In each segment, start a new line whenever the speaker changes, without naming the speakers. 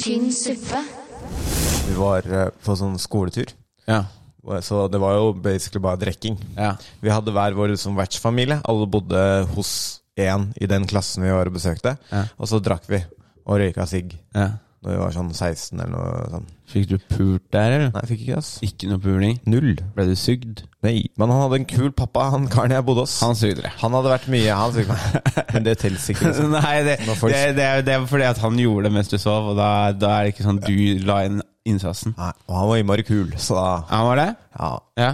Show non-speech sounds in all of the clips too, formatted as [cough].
tynn suppe.
Vi var eh, på sånn skoletur,
Ja.
så det var jo basically bare drikking.
ja.
Vi hadde hver vår liksom, vertsfamilie. Alle bodde hos én i den klassen vi var og besøkte.
Ja.
Og så drakk vi og røyka sigg
ja.
Når vi var sånn 16 eller noe sånt.
Fikk du pult der, eller?
Nei, jeg fikk ikke ass.
Ikke noe puling?
Null.
Ble du sugd?
Nei, Men han hadde en kul pappa, han karen jeg bodde hos.
Han sugde deg.
Han hadde vært mye, han sier meg. Men det teller ikke. Liksom.
[laughs] Nei, det,
Når folk-
det, det, er- det er fordi at han gjorde det mens du sov, og da, da er det ikke sånn du la inn innsatsen.
Nei, og han var innmari kul, så da
Han var det?
ja.
Ja.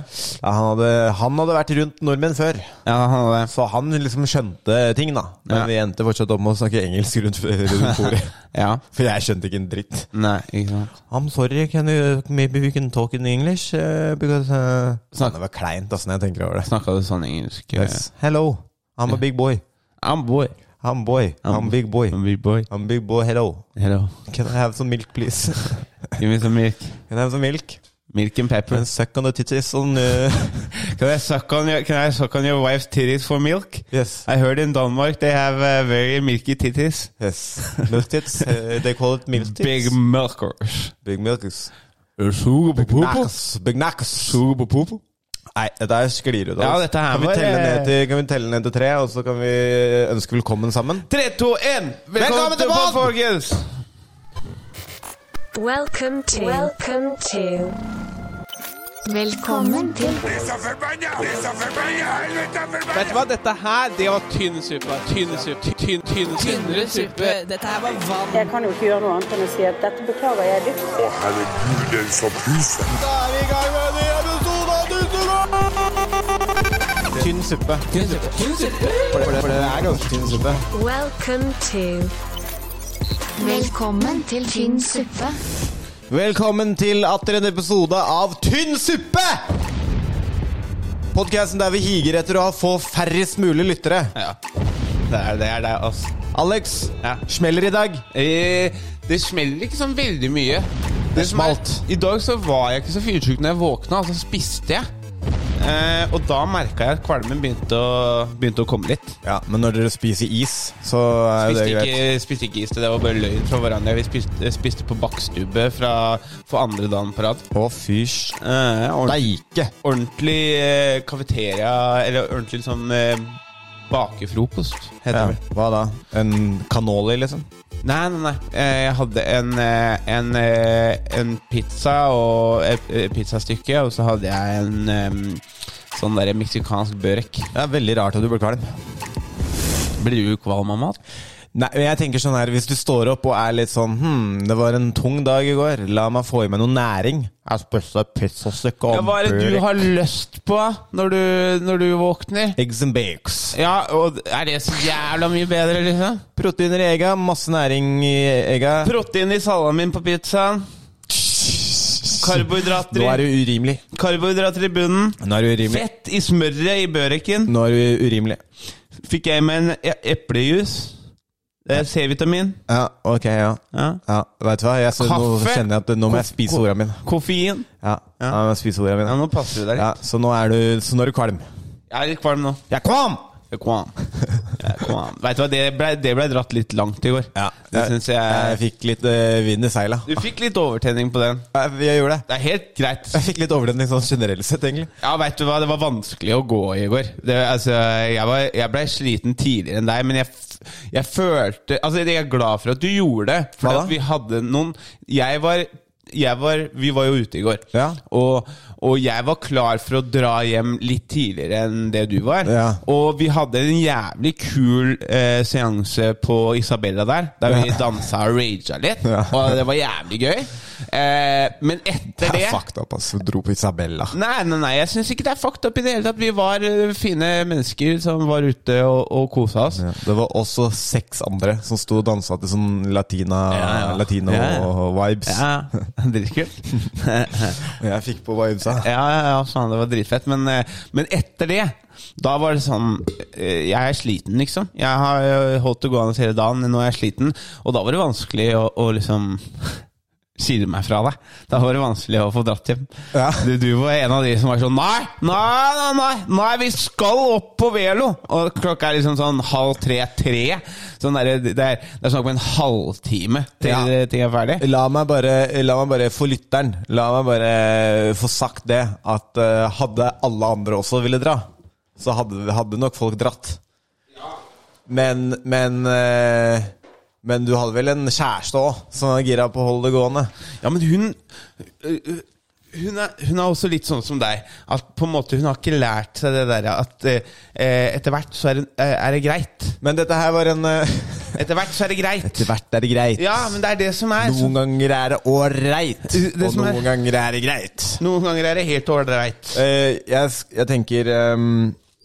Ja, han, hadde, han hadde vært rundt nordmenn før,
ja han var det.
så han liksom skjønte ting, da. Men
Ja.
vi endte fortsatt om å snakke engelsk rundt, [laughs] rundt bordet.
Ja.
For jeg skjønte ikke en dritt.
Nei, ikke sant.
I'm sorry, can you, maybe we can talk in English? eh, because eh,
Snakk-
Det var kleint, altså, når jeg tenker over det.
Snakka du sånn engelsk?
Yes. Hello, I'm a big boy.
I'm boy.
I'm boy. I'm Mm.
I'm-
big boy.
I'm big boy.
I'm big boy, hello.
Hello.
Can I have some milk, please? [laughs]
Give me some milk.
Can I have some milk?
Milk
And
and pepper.
suck on the titties on uh,
Can I suck on your, can I suck on your wife's titties for milk?
[laughs] Yes.
I heard in Denmark they have uh, very milky titties.
Yes. Milk tits. Uh, they call it milk tits.
Big milkers.
Big milkers.
Suger på
Knacks. Big knacks.
på popo.
Nei, dette her sklir ut. av
Ja,
oss.
dette her
kan, vi
var-
telle ned til, kan vi telle ned til tre, og så kan vi eh, ønske velkommen sammen?
3, 2, 1! Velkommen
Velkommen
til
tilbake!
Pod, folkens!
Welcome to. Welcome to.
Velkommen til
Vet du hva, dette her, det var tynn suppe. Tynn suppe. Tynn, tynn, tynn.
Indre suppe. Dette her var vann.
Jeg kan jo ikke gjøre noe annet enn å si at dette beklager jeg dypt.
Å, herregud, den som puser.
Da er vi i gang med en ny episode av Dusenland! Tynn suppe. Tynn suppe. For det, for det er ganske tynn suppe.
Welcome to.
Velkommen til tynn suppe.
Velkommen til atter en episode av Tynn suppe! Podkasten der vi higer etter å ha få færrest mulig lyttere.
Ja. Det er det, er det ass.
Alex,
Ja.
smeller i dag.
Eh, det smeller ikke sånn veldig mye. Det som er-
smalt.
I dag så var jeg ikke så fyrsjuk når jeg våkna, og så spiste jeg. Eh, og da merka jeg at kvalmen begynte å, begynte å komme litt.
Ja, Men når dere spiser is, så er
Spiste
det greit.
ikke, spiste ikke is til det var bare løgn fra hverandre. Vi spiste, eh, spiste på bakstubbe fra, for andre dagen på rad.
Å, fysj.
Eh, ordentlig,
Deike.
ordentlig eh, kafeteria, eller ordentlig sånn eh, bakefrokost,
Ja,
heter det.
hva da? En cannoli, liksom?
Nei, nei, nei. Eh, Jeg hadde en, eh, en, eh, en pizza og et eh, pizzastykke, og så hadde jeg en em, sånn derre meksikansk børek.
Det er veldig rart at du blir kvalm.
Blir du kvalm av mat?
Nei, men jeg tenker sånn her Hvis du står opp og er litt sånn Hm, det var en tung dag i går. La meg få i meg noe næring. Jeg spiste pizzastykke og
Ja, hva er det du har lyst på når du, når du våkner?
Eggs and bakes.
Ja, og er det så jævla mye bedre, liksom?
Proteiner i egga, masse næring i egga.
Protein i salamin på pizzaen. Karbohydrater
Nå er
i,
det urimelig.
karbohydrater i bunnen.
Nå er det urimelig.
Fett i smøret i børeken.
Nå er det urimelig.
Fikk jeg i meg en e- eplejus. Eh, C-vitamin.
Ja, ok, ja.
Ja.
ja Veit du hva, jeg, så, nå
Kaffe?
kjenner jeg at nå må jeg spise orda mine.
Koffein.
Ja, ja. jeg må spise orda
Ja,
mine.
nå passer du deg
Ja,
litt.
så nå er du Så nå er du kvalm.
Jeg er litt kvalm nå.
Jeg er kvalm!
Jeg er kvalm. Jeg er kvalm. Vet du hva, det ble, det ble dratt litt langt i går. Det
jeg,
synes jeg
fikk litt eh, vind i seila.
Du fikk litt overtenning på den.
Jeg, jeg gjorde det.
Det er helt greit.
Jeg fikk litt overdenning sånn generelt sett, egentlig.
Ja, vet du hva, det var vanskelig å gå i går. Det, altså, jeg, var, jeg ble sliten tidligere enn deg, men jeg, f- jeg følte Altså, jeg er glad for at du gjorde det.
Hva
For
da?
at vi hadde noen Jeg var jeg var, vi var jo ute i går,
Ja.
og, og jeg var klar for å dra hjem litt tidligere enn det du var.
Ja.
Og vi hadde en jævlig kul eh, seanse på Isabella der, der vi dansa og raga litt.
Ja.
Og det var jævlig gøy. Eh, men etter det
Jeg fucked up, ass. Dro på Isabella.
Nei, nei, nei, jeg syns ikke det er fucked up i det hele tatt. Vi var eh, fine mennesker som var ute og, og kosa oss.
Ja. Det var også seks andre som sto og dansa til sånn latina,
Ja, ja. Ja,
latino-vibes.
Ja, Dritkult.
Og jeg fikk på vibesa.
Ja, ja, ja, faen, det var dritfett. Men, eh, men etter det, da var det sånn eh, Jeg er sliten, liksom. Jeg har eh, holdt det gående hele dagen, nå er jeg sliten. Og da var det vanskelig å, å liksom [laughs] skille meg fra deg. Da var det vanskelig å få dratt hjem.
Ja.
Du, du var en av de som var sånn Nei, nei, nei, nei, nei vi skal opp på Velo! Og klokka er liksom sånn halv tre-tre. Sånn der, det, er, det er snakk om en halvtime til
Ja.
ting er ferdig.
La meg bare, la meg bare få lytteren. La meg bare få sagt det at eh, hadde alle andre også ville dra, så hadde, hadde nok folk dratt. Men, men eh, Men du hadde vel en kjæreste òg som var gira på å holde det gående?
Ja, men hun øh, øh, hun er, hun er også litt sånn som deg. At på en måte Hun har ikke lært seg det derre at eh, eh, etter hvert så er det, eh, er det greit.
Men dette her var en eh,
Etter hvert så er det greit.
Etter hvert er det greit.
Ja, men det er det som er.
Noen ganger er det ålreit,
Det- det
og
som er-
noen ganger er det greit.
Noen ganger er det helt ålreit.
Eh, jeg, sk- jeg tenker ehm,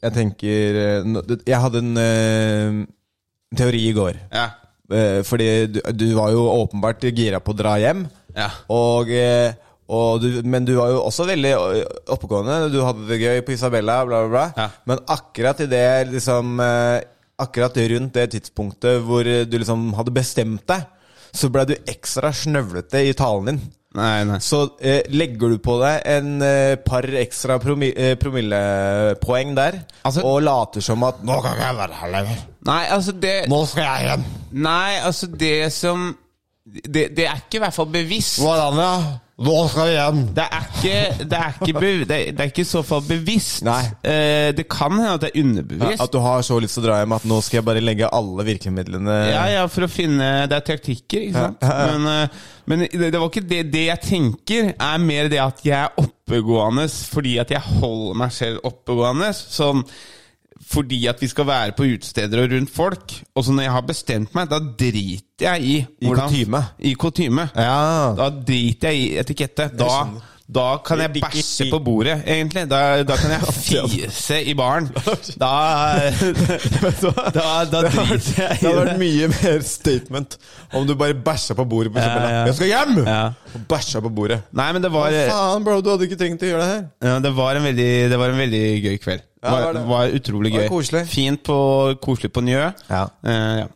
Jeg tenker eh, nå- det- Jeg hadde en eh, teori i går.
Ja.
Eh, fordi du, du var jo åpenbart gira på å dra hjem.
Ja.
Og, eh, og du, men du var jo også veldig eh, oppegående. Du hadde det gøy på Isabella, bla, bla, bla.
Ja.
Men akkurat i det liksom eh, Akkurat rundt det tidspunktet hvor eh, du liksom hadde bestemt deg, så ble du ekstra snøvlete i talen din.
Nei, nei.
Så eh, legger du på deg en eh, par ekstra promi eh, promillepoeng der,
Altså-
og later som at 'Nå kan ikke jeg være her lenger.
Nei, altså det
Nå skal jeg hjem.'
Nei, altså det som Det, det er ikke i hvert fall bevisst.
Hvordan, ja? Nå skal vi hjem.
Det er ikke, det er ikke, bev- det er, det er ikke i så fall bevisst.
Nei.
Eh, det kan hende at det er underbevisst.
At du har så lyst til å dra hjem at nå skal jeg bare legge alle virkemidlene
Ja, ja, for å finne Det er taktikker, ikke sant? Men, eh, men det, det var ikke det Det jeg tenker, er mer det at jeg er oppegående fordi at jeg holder meg selv oppegående. Sånn fordi at vi skal være på utesteder og rundt folk. Og så når jeg har bestemt meg, da driter jeg i
I kutyme.
I kutyme.
Ja.
Da driter jeg i etikette. Da,
skjønner.
da kan jeg
Ikke-
bæsje
ikke-
på bordet, egentlig. Da, da
[laughs]
kan jeg fise i baren. Da, da, da driter jeg i
Det hadde vært mye mer statement om du bare bæsja på bordet. På
Ja,
eksempel, da.
ja.
Jeg skal hjem!
Ja.
Og bæsja på bordet.
Nei, men det var,
Hva faen, bro? Du hadde ikke trengt å gjøre det her.
ja, det var, en, veldig, det var en veldig gøy kveld. Det
Ja, det
var,
var det.
var utrolig
Det
gøy.
var koselig.
Fint på, koselig på Njø.
Ja.
Eh, ja.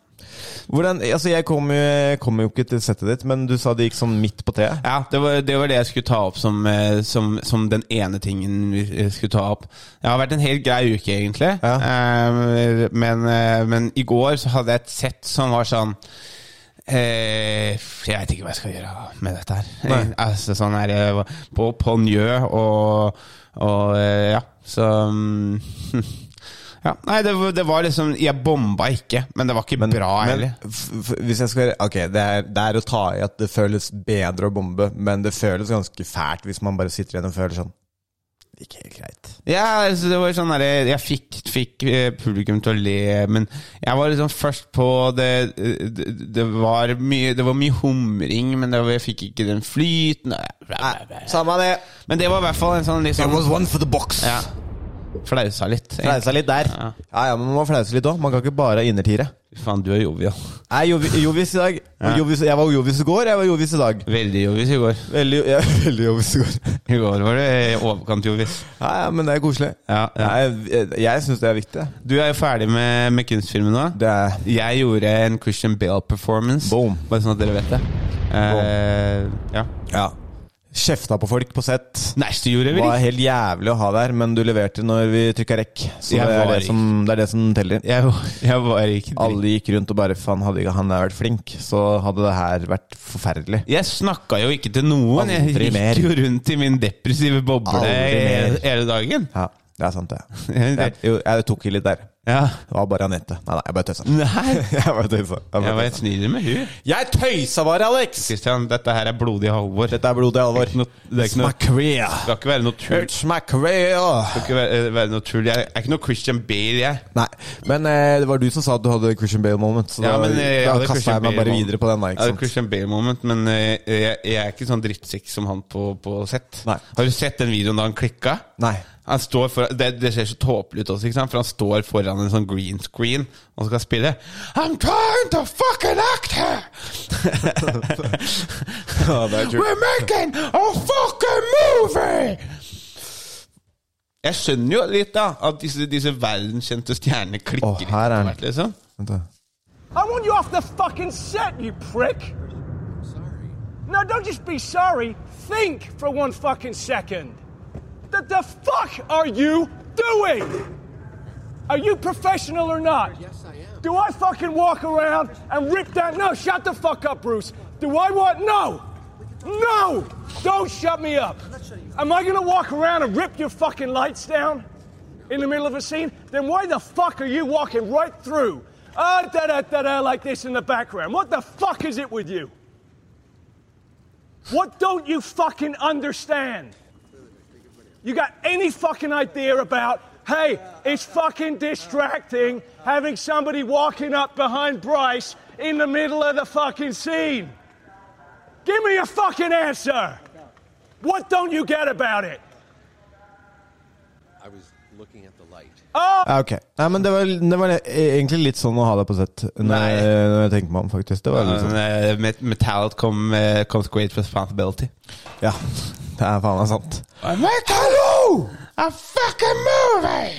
Hvordan, altså Jeg kom jo, jeg kom jo ikke til settet ditt, men du sa det gikk sånn midt på teet.
Ja, det var, det var det jeg skulle ta opp som, eh, som, som den ene tingen vi eh, skulle ta opp. Det har vært en helt grei uke, egentlig. Eh, men, eh, men i går så hadde jeg et sett som var sånn eh, Jeg veit ikke hva jeg skal gjøre med dette her.
Nei.
Eh, altså sånn her eh, På, på Njø og, og eh, Ja, så mm, [laughs] ja, Nei, det, var- det var liksom Jeg bomba ikke, men det var ikke bra heller.
Men f f hvis jeg skal være Ok, det er, det er å ta i at det føles bedre å bombe, men det føles ganske fælt hvis man bare sitter igjen og føler sånn Det gikk helt greit.
Ja, altså, det var sånn der, Jeg fikk, fikk eh, publikum til å le, men jeg var liksom først på Det, det, det, var, mye, det var mye humring, men det var, jeg fikk ikke den flyten Sånn.
Nei, samme det.
Men det var i hvert fall en sånn liksom
one for the box.
ja, Flausa litt.
Flausa litt der.
Ja.
Ja. ja, men man må flause litt òg. Man kan ikke bare ha innertiere.
Faen, du er jovial.
Jeg er jovi- jovis i dag.
Ja.
Jovis, jeg var jovis i går, jeg var jovis i dag.
Veldig jovis i går.
Veldig, jeg er [laughs] veldig jovis i går.
I går var det i overkant jovis.
Ja, ja, men det er koselig.
Ja, ja.
Jeg, jeg, jeg syns det er viktig.
Du er jo ferdig med, med kunstfilmen nå.
Det er
Jeg gjorde en Christian Bale-performance.
Boom.
Bare sånn at dere vet det. Eh, ja.
Ja. Kjefta på folk på sett.
Nei, så gjorde
Det
vi det.
var helt jævlig å ha der, men du leverte når vi trykka rekk. Så
Jeg
det er
var
det,
ikke-
som, det er det som teller.
Jeg, var- jeg var ikke dritt.
Alle gikk rundt og bare faen, hadde ikke han der vært flink, så hadde det her vært forferdelig.
Jeg snakka jo ikke til noen. Jeg
Aldri
gikk
mer.
jo rundt i min depressive boble
Aldri mer.
hele dagen.
Ja, det er
[laughs]
sant, det.
Det-
Jeg, jo, jeg tok i litt der.
Ja.
Det var bare Anette. Nei, nei, jeg bare
[laughs]
tøysa. [laughs]
Nei,
Jeg bare tøysa. Jeg,
jeg var
bare
et
tøysa.
snill med hun.
jeg tøysa bare, Alex!
Christian, dette her er blodig halvor. Det
Dette er blodig alvor.
ikke noe- det er ikke
It's
noe-
my career.
skal ikke være noe tull. Det
It's my career.
skal ikke være, være noe tull. Jeg er ikke noe Christian Bale, jeg.
Nei, men eh, det var du som sa at du hadde Christian Bale moment, så
Ja,
da,
men, eh, jeg
da
hadde
kasta
Christian
jeg meg bare
Bale-moment.
videre på den. Da,
Jeg
ikke
hadde
sant?
Christian Bale-moment, men eh, jeg, jeg er ikke sånn drittsekk som han på, på sett.
Nei.
Har du sett den videoen da han klikka? [laughs]
Nei.
Han står for, det, det ser så tåpelig ut også, ikke sant? For han står foran en sånn green screen og skal spille I'm trying to fucking act here!
Ja, det er kult.
We're making a fucking movie! Jeg skjønner jo litt, da, at disse, disse verdenskjente stjernene klikker
Å, her er
etter
den.
hvert, liksom.
Vent da.
I want you off the fucking set, you prick! Now, don't just be sorry. Think for one fucking second. The, the fuck are you doing? Are you professional or not? Yes, I am. Do I fucking walk around and rip that? No, shut the fuck up, Bruce. Do I want? No! No! Don't shut me up. Am I gonna walk around and rip your fucking lights down in the middle of a scene? Then why the fuck are you walking right through? Ah, da da da da, like this in the background. What the fuck is it with you? What don't you fucking understand? You got any fucking idea about, hey, it's fucking distracting having somebody walking up behind Bryce in the middle of the fucking scene? Give me a fucking answer. What don't you get about it?
Ja, Ah, ok. Nei, men det var, det var egentlig litt sånn å ha deg på sett, når,
Nei.
jeg- når jeg tenker meg om, faktisk. Det var litt sånn.
Eh, Met- Metallic kom, eh, comes great responsibility.
Ja, det er faen meg sant.
Hallo! A fucking movie!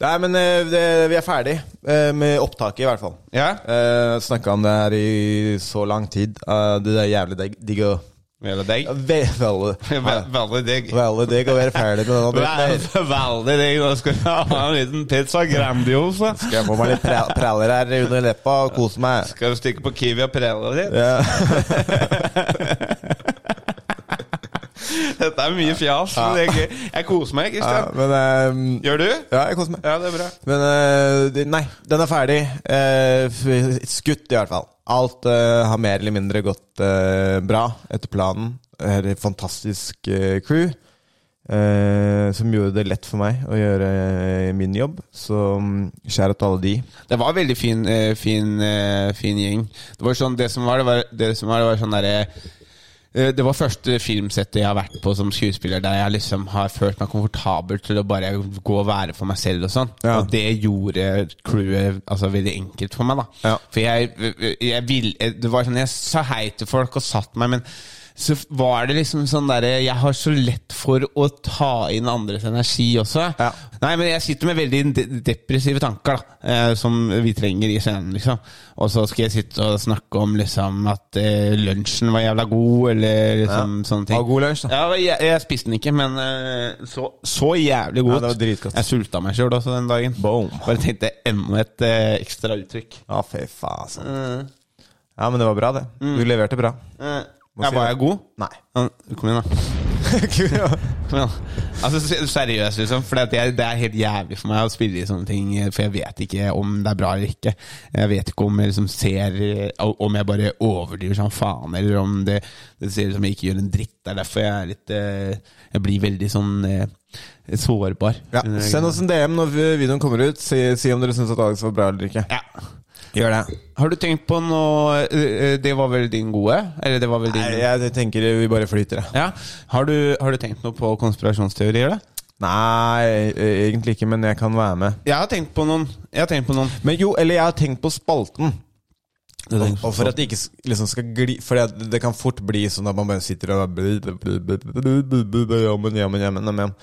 Nei, men eh, det, vi er ferdig eh, med opptaket, i hvert fall.
Ja.
Uh, Snakka om det her i så lang tid. Eh, det er jævlig digg- digg å
Vel og deg.
Ve- Veldig
Vel- Veldig deg.
veldig digg å være ferdig med denne
Vel-
dritten.
Veldig deg. Nå skal vi ha en liten pizza grandiosa.
Skal jeg få meg litt pra- praller her under leppa og kose meg?
Skal du stikke på Kiwi og prelle ditt?
Ja.
[laughs] Dette er mye fjas. men det er gøy. Jeg koser meg,
Ja,
Kristian.
men eh,
Gjør du?
Ja, jeg koser meg.
Ja, det er bra.
Men eh, de- nei, den er ferdig. Eh, f- skutt, i hvert fall. Alt eh, har mer eller mindre gått eh, bra etter planen. Her er et fantastisk eh, crew. eh, som gjorde det lett for meg å gjøre eh, min jobb. Så mm, kjære til alle de.
Det var en veldig fin, eh, fin, eh, fin gjeng. Det var sånn, det som var, det var, det som var, det var sånn derre eh, det var første filmsettet jeg har vært på som skuespiller der jeg liksom har følt meg komfortabel til å bare gå og være for meg selv og sånn.
Ja.
Og det gjorde crewet altså, veldig enkelt for meg, da.
Ja.
For jeg, jeg vil jeg- Det var sånn jeg sa hei til folk og satt meg, men så var det liksom sånn derre Jeg har så lett for å ta inn andres energi også.
Ja.
Nei, men jeg sitter med veldig de depressive tanker, da. Eh, som vi trenger i scenen, liksom. Og så skal jeg sitte og snakke om liksom at eh, lunsjen var jævla god, eller liksom sånne ting.
Ha god lunsj, da.
Ja, jeg, jeg spiste den ikke, men eh, så, så jævlig
Ja,
godt.
det var dritgodt.
Jeg sulta meg sjøl også den dagen.
Boom.
Bare tenkte enda et eh, ekstra uttrykk.
Ja, fy faen. sant. Ja, men det var bra, det. Du leverte bra.
Eh,
Må
ja,
si
var
det.
jeg god?
[laughs] Nei.
Ja, Kom igjen, da. Kom igjen. Altså se- Seriøst, liksom. For det er, det er helt jævlig for meg å spille i sånne ting. For jeg vet ikke om det er bra eller ikke. Jeg vet ikke om jeg liksom ser Om jeg bare overdriver som faen, eller om det, det ser ut som jeg ikke gjør en dritt. Det er derfor jeg er litt eh, Jeg blir veldig sånn eh, sårbar.
Ja. Send oss en DM når vi- videoen kommer ut. Si, si om dere syns at Alex var bra eller ikke.
Ja.
Gjør det.
Har du tenkt på noe eh, eh, Det var vel din gode? Eller det var vel din
Nei, jeg tenker vi bare flyter, jeg.
ja. har, du, har du tenkt noe på konspirasjonsteorier? da?
Nei, e- egentlig ikke, men jeg kan være med.
Jeg har tenkt på noen. Jeg har tenkt på noen.
Men jo, eller jeg har tenkt på spalten.
Du tenker på
Og for at det ikke s- liksom skal gli For det, det kan fort bli sånn at man bare sitter og bare bl- bl- bl- bl- bl- bl- bl- bl- jamen, jamen, jamen, jamen.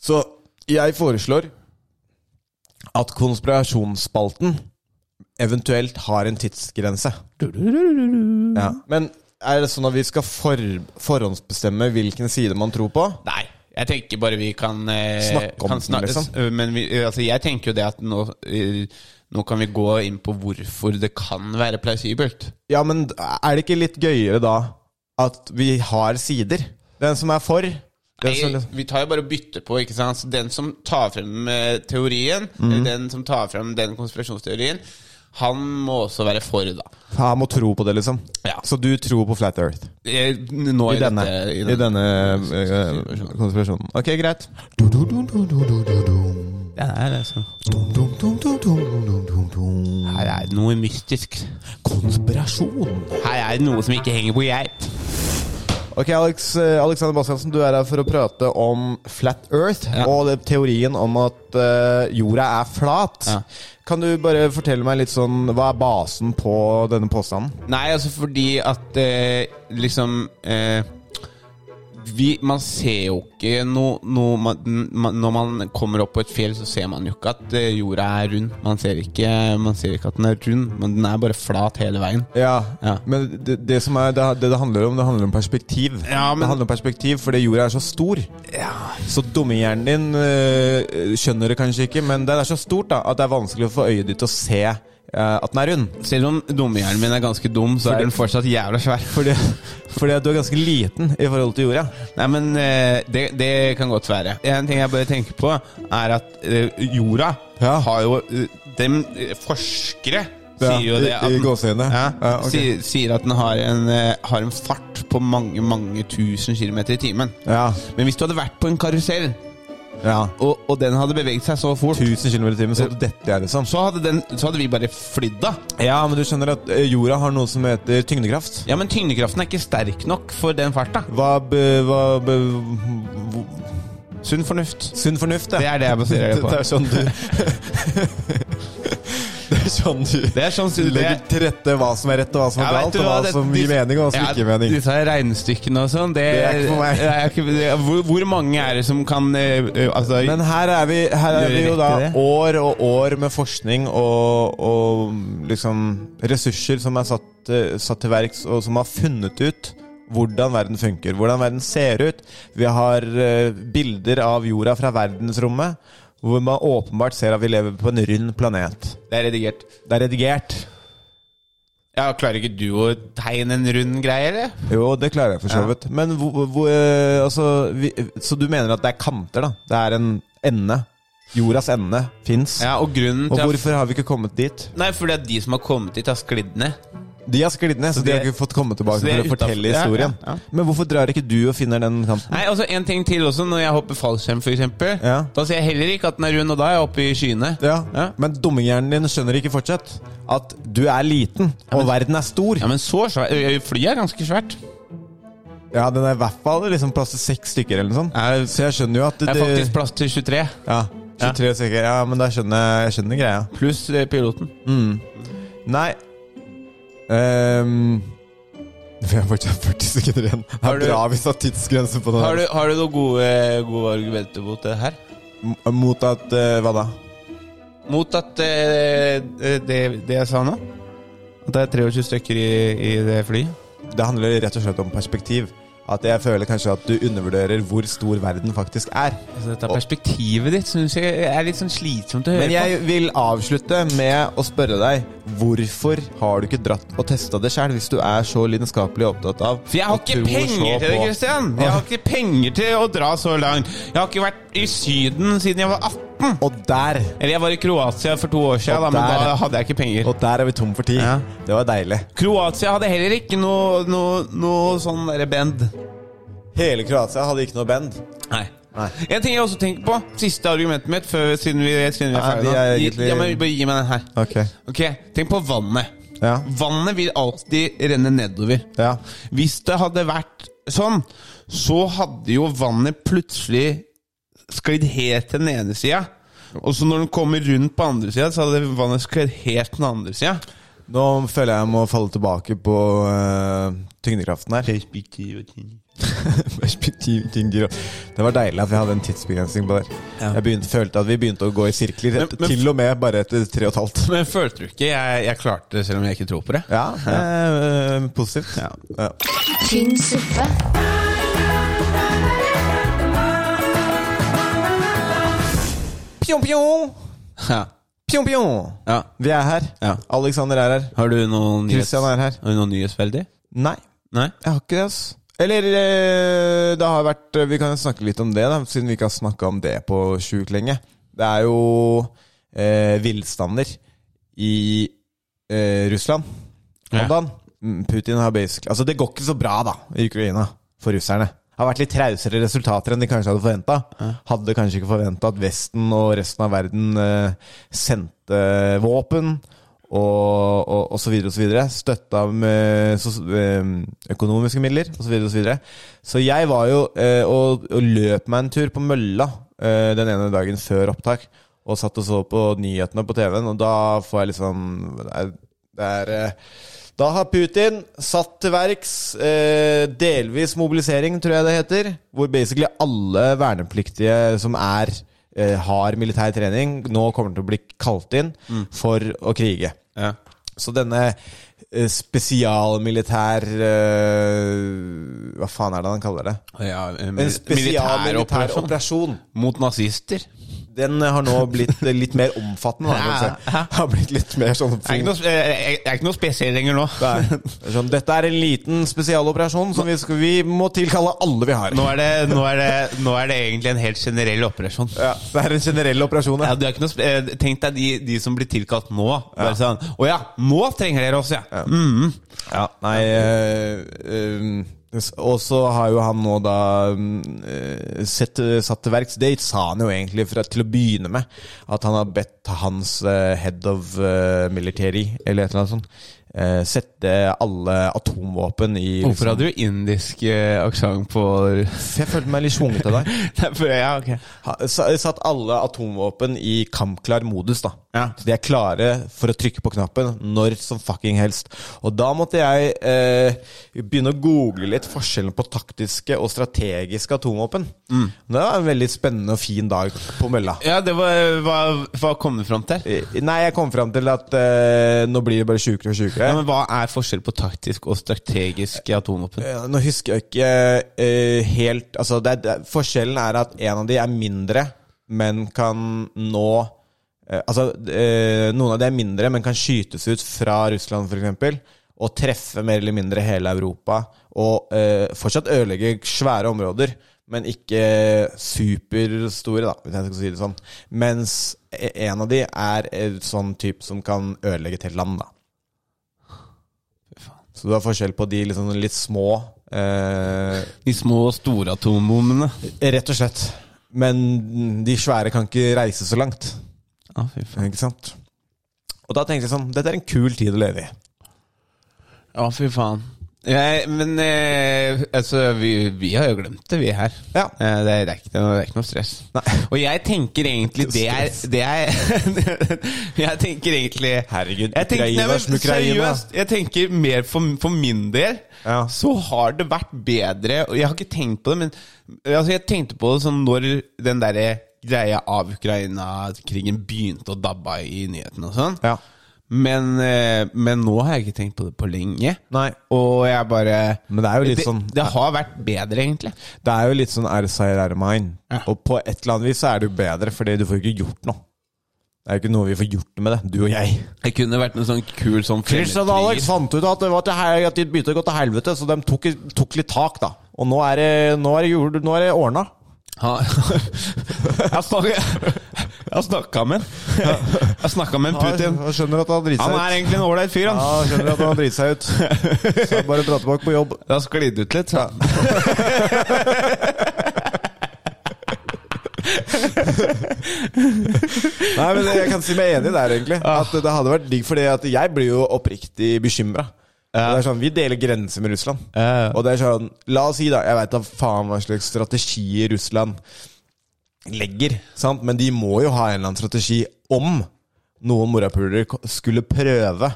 Så jeg foreslår at konspirasjonsspalten eventuelt har en tidsgrense. Ja. Men er det sånn at vi skal for, forhåndsbestemme hvilken side man tror på?
Nei, jeg tenker bare vi kan eh,
Snakke om
kan
den, liksom.
eh, Men vi, eh, altså, jeg tenker jo det at nå, eh, nå kan vi gå inn på hvorfor det kan være plausibelt.
Ja, men er det ikke litt gøyere da at vi har sider? Den som er for den som, liksom-
Nei, vi tar jo bare og bytter på, ikke sant. Så den som tar frem eh, teorien,
Mhm.
eller den som tar frem den konspirasjonsteorien, han må også være for, da.
Han må tro på det, liksom.
Ja.
Så du tror på Flat Earth?
Eh, Nå
I denne,
dette-
i denne eh, konspirasjonen. Ok, greit.
Ja, det er det, altså. Her er det noe mystisk.
Konspirasjon.
Her er det noe som ikke henger på geip.
Ok, Alex, eh, Alexander Bastiansen, du er her for å prate om Flat Earth
Ja.
og det, teorien om at eh, jorda er flat.
Ja.
Kan du bare fortelle meg litt sånn Hva er basen på denne påstanden?
Nei, altså fordi at eh, liksom eh, vi, man ser jo ikke noe no, man, man, Når man kommer opp på et fjell, så ser man jo ikke at eh, jorda er rund. Man ser, ikke, man ser ikke at den er rund, men den er bare flat hele veien.
Ja,
Ja.
men det, det som er det, det det handler om, det handler om perspektiv.
Ja, men-
Det handler om perspektiv, fordi jorda er så stor. Så dummehjernen din øh, skjønner det kanskje ikke, men det er så stort da, at det er vanskelig å få øyet ditt til å se øh, at den er rund.
Selv om dummehjernen min er ganske dum, så er den fortsatt jævla svær.
Fordi, [laughs] fordi at du er ganske liten i forhold til jorda.
Nei, men eh, det, det kan godt være. En ting jeg bare tenker på, er at eh, jorda
Ja.
har jo eh, Dem eh, forskere
Ja,
sier jo
i-
det at
i
den-
gåseøyne.
Ja,
Ja, ok.
sier, sier at den har en, eh, har en fart på mange, mange tusen kilometer i timen.
Ja,
Men hvis du hadde vært på en karusell,
ja.
og, og den hadde beveget seg så fort,
1000 km i timen, så dette er liksom.
så hadde, den, så hadde vi bare flydd da.
Ja, men du skjønner at øh, jorda har noe som heter tyngdekraft.
Ja, men tyngdekraften er ikke sterk nok for den farta.
Hva, be, hva be, hvor-
Sunn fornuft.
Sunn fornuft,
Det er det jeg baserer det på.
Det er sånn du
[laughs]
Det er sånn du
Det er sånn
legger til rette hva som er rett, og hva som er
Ja, vet
galt,
du
og hva
det-
som gir
dis-
mening, og hva som
ja,
ikke gir mening.
Disse her regnestykkene og sånn, det,
Det er ikke for meg.
det [laughs] er ikke- det er- hvor, hvor mange er det som kan eh, eh, altså,
Men her er vi, her er
Gjør
vi jo
riktig
da
det.
år og år med forskning og, og liksom ressurser som er satt, eh, satt til verks, og som har funnet ut hvordan verden funker, hvordan verden ser ut. Vi har eh, bilder av jorda fra verdensrommet, hvor man åpenbart ser at vi lever på en rund planet.
Det er redigert.
Det er redigert.
Ja, Klarer ikke du å tegne en rund greie, eller?
Jo, det klarer jeg for så
Ja.
vidt. Men hvor, hvor, eh, altså, vi, Så du mener at det er kanter, da? Det er en ende. Jordas ende fins.
Ja, Og grunnen
Og
til at-
hvorfor har vi ikke kommet dit?
Nei, fordi at de som har kommet hit, har sklidd ned.
De har sklidd ned, så, de
det-
har ikke fått komme tilbake
så det
for
er
å fortelle
utenfor- ja,
historien.
ja, ja.
Men hvorfor drar ikke du og finner den kanten?
Nei, altså En ting til også, når jeg hopper fallskjerm, f.eks.
Ja.
Da ser jeg heller ikke at den er rund, og da er jeg oppe i skyene.
Ja.
Ja.
Men dumminghjernen din skjønner ikke fortsatt at du er liten, og verden er stor.
Ja, Men så svær ø, ø, Flyet er ganske svært.
Ja, den er i hvert fall liksom plass til seks stykker, eller noe sånt.
Ja,
Så jeg skjønner jo at
Det
det,
er faktisk plass til 23,
ja, 23 stykker. Ja, men da skjønner jeg- jeg skjønner greia.
pluss ø, piloten.
Nei Ehm, [laughs] Vi har fortsatt 40 sekunder igjen. Det
Har
er
du-
bra vi satt tidsgrense på det.
Har du, har du noen gode, gode argumenter mot det her?
M- Mot at eh, Hva da?
Mot at eh, det, det jeg sa nå At det er 23 stykker i, i det flyet
Det handler rett og slett om perspektiv. At jeg føler kanskje at du undervurderer hvor stor verden faktisk er.
altså, Dette perspektivet ditt synes jeg er litt sånn slitsomt å høre
Men jeg vil avslutte med å spørre deg hvorfor har du ikke dratt og testa det sjøl, hvis du er så lidenskapelig opptatt av
For jeg har
og tror
ikke
så
penger til det,
på-
Kristian Jeg har ikke penger til å dra så langt Jeg har ikke vært i syden siden jeg var 18
Og der,
Eller jeg var i Kroatia for to år siden
Og
da, Men
der-
da hadde jeg ikke penger
og der er vi tom for tid.
Ja.
Det var deilig.
Kroatia hadde heller ikke noe, noe, noe sånn der band
Hele Kroatia hadde ikke noe band.
Nei.
Nei.
En ting jeg også tenker på, siste argumentet mitt før, siden vi, siden vi er
Nei,
ferdige
vi er
nå. Gi-
egentlig-
Ja, men bare gi meg den her.
Ok.
Ok, Tenk på vannet.
Ja.
Vannet vil alltid renne nedover.
Ja.
Hvis det hadde vært sånn, så hadde jo vannet plutselig sklidd helt til den ene sida. Og så når den kommer rundt på andre sida, så hadde vannet sklidd helt til den andre sida.
Nå føler jeg jeg må falle tilbake på eh, tyngdekraften her. [laughs] Perspektiv, tyngdekraft. Det var deilig at vi hadde en tidsbegrensning på det.
Ja.
Jeg begynte, følte at vi begynte å gå i sirkler,
Men- men-
til og med bare etter tre og et halvt.
Men følte du ikke jeg, jeg klarte det, selv om jeg ikke tror på det?
Ja, eh, positivt.
Ja.
Ja.
tynn suppe,
Pjong, pjong!
Ja.
Pjong, pjong!
ja.
Vi er her.
Ja.
Alexander er her.
Har du noen nyhets-
Christian er her.
Har du noe nyhetsveldig?
Nei,
Nei?
jeg har ikke det, ass. Eller eh, det har vært Vi kan jo snakke litt om det, da, siden vi ikke har snakka om det på sjukt lenge. Det er jo eh, villstander i eh, Russland om
Ja.
dagen. Mm, Putin har basically Altså, det går ikke så bra, da, i Ukraina, for russerne. Det har vært litt trausere resultater enn de kanskje hadde forventa. Hadde kanskje ikke forventa at Vesten og resten av verden eh, sendte eh, våpen og, og, og så videre og så videre. Støtta med sos- eh, økonomiske midler og så videre og så videre. Så jeg var jo eh, og, og løp meg en tur på mølla eh, den ene dagen før opptak. Og sånn, satt og så på nyhetene på TV-en, og da får jeg liksom Det er, det er eh, Da har Putin satt til verks eh, delvis mobilisering, tror jeg det heter, hvor basically alle vernepliktige som er eh, har militær trening, nå kommer til å bli kalt inn
Mm.
for å krige.
Ja.
Så denne eh, spesialmilitær eh, Hva faen er det han kaller det?
Ja, en
En
militær
spesialmilitær
operasjon
operasjon.
mot nazister.
Den har nå blitt eh, litt mer omfattende. Da, kan du si. har blitt litt mer sånn
Det er ikke noe, sp- eh, det er ikke noe spesielt lenger nå.
Nei. Det er [laughs] Sånn, dette er en liten spesialoperasjon som vi, skal, vi må tilkalle alle vi har.
Nå er, det, nå, er det, nå er det egentlig en helt generell operasjon.
[laughs] Ja, det er en generell operasjon.
Ja,
Ja.
du er ikke noe, sp- eh, tenk deg de, de som blir tilkalt nå. Bare sånn Å ja, nå trenger dere oss, ja! Mhm.
Ja, nei eh, eh, s- Og så har jo han nå da eh, sett, satt til verks Det sa han jo egentlig fra, til å begynne med. At han har bedt hans eh, head of eh, military, eller et eller annet sånt, eh, sette alle atomvåpen i
Hvorfor hadde du indisk eh, aksent på
[laughs]
[laughs]
Jeg følte meg litt svunget av deg.
Nei, for- Ja, ok.
Ha- sa- Satt alle atomvåpen i kampklar modus, da.
Ja.
Så de er klare for å trykke på knappen når som fucking helst. Og da måtte jeg eh, begynne å google litt forskjellen på taktiske og strategiske atomvåpen. Det var en veldig spennende og fin dag på mølla.
Mm. Ja, det var Hva, hva kom du fram til?
Eh, Nei, jeg kom fram til at eh, nå blir det bare sjukere og sjukere.
Ja, men Hva er forskjell på taktisk og strategisk atomvåpen?
Ja, Nå husker jeg ikke eh, helt altså det er, det er, Forskjellen er at en av de er mindre, men kan nå eh, Altså, eh, noen av de er mindre, men kan skytes ut fra Russland, f.eks. Og treffe mer eller mindre hele Europa. Og eh, fortsatt ødelegge svære områder, men ikke superstore, da, hvis jeg skal si det sånn. Mens e, en av de er eh, sånn type som kan ødelegge et helt land, da. Så du har forskjell på de litt sånn litt små eh,
De små og store atombommene.
Rett og slett. Men de svære kan ikke reise så langt.
Ja, fy faen.
Ikke sant? Og da tenkte jeg sånn Dette er en kul tid å leve i.
Ja, fy faen. Jeg, men eh, altså, vi, vi har jo glemt det, vi her.
Ja.
Eh, det, er, det, er ikke, noe- det er ikke noe stress.
Nei.
Og jeg tenker egentlig det er, det er [laughs] Jeg tenker egentlig
Herregud,
jeg tenker,
Ukraina
nei, men
som Ukraina.
Seriøst, jeg tenker mer for, for min del
Ja.
så har det vært bedre Og jeg har ikke tenkt på det, men altså, jeg tenkte på det sånn når den derre greia av Ukraina-krigen begynte å dabbe av i nyhetene og sånn.
Ja.
Men, eh, men nå har jeg ikke tenkt på det på lenge.
Nei.
Og jeg bare
Men det er jo litt sånn-
Det har vært bedre, egentlig.
Det er jo litt sånn RCRR mine.
Ja.
Og på et eller annet vis så er det jo bedre, fordi du får jo ikke gjort noe. Det er jo ikke noe vi får gjort med det, du og jeg.
Det kunne vært noe sånn kul sånn
Christian og Alex
fremmedkrig.
fant ut at det, var til hel- at de begynte å gå til helvete, så de tok, tok litt tak, da. Og nå er det, nå er det, jul- nå er det ordna.
Ha- [laughs] Jeg snakka- jeg snakka med han. Jeg snakka med en Putin.
Ja, jeg skjønner at han driter
Han
seg ut.
er egentlig en ålreit fyr,
Ja,
han.
jeg skjønner at han driter seg ut. Så bare dra tilbake på jobb.
Det har sklidd ut litt. Ja.
Nei, men Jeg kan si meg enig der, egentlig. At Det hadde vært digg, fordi at jeg blir jo oppriktig bekymra. Sånn, vi deler grenser med Russland.
Ja, ja.
Og det er sånn, La oss si, da Jeg veit da faen hva slags strategi Russland legger, sant? men de må jo ha en eller annen strategi om noen morapulere ko- skulle prøve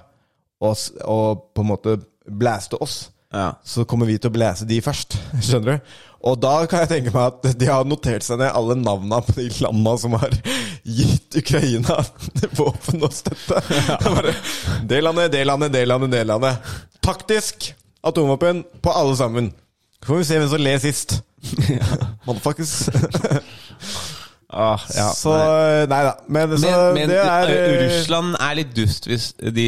å, s- å på en måte blaste oss.
Ja.
Så kommer vi til å blæse de først. [laughs] Skjønner du? Og da kan jeg tenke meg at de har notert seg ned alle navna på de landa som har [laughs] gitt Ukraina [laughs] våpen og støtte. Bare, det landet, det landet, det landet, det landet. Taktisk atomvåpen på alle sammen. Så får vi se hvem som ler
[laughs]
sist. Motherfuckers.
Ah, ja.
[laughs] så nei da. Men, så,
Men, men
det er
eh,
eh,
Russland er litt dust hvis de,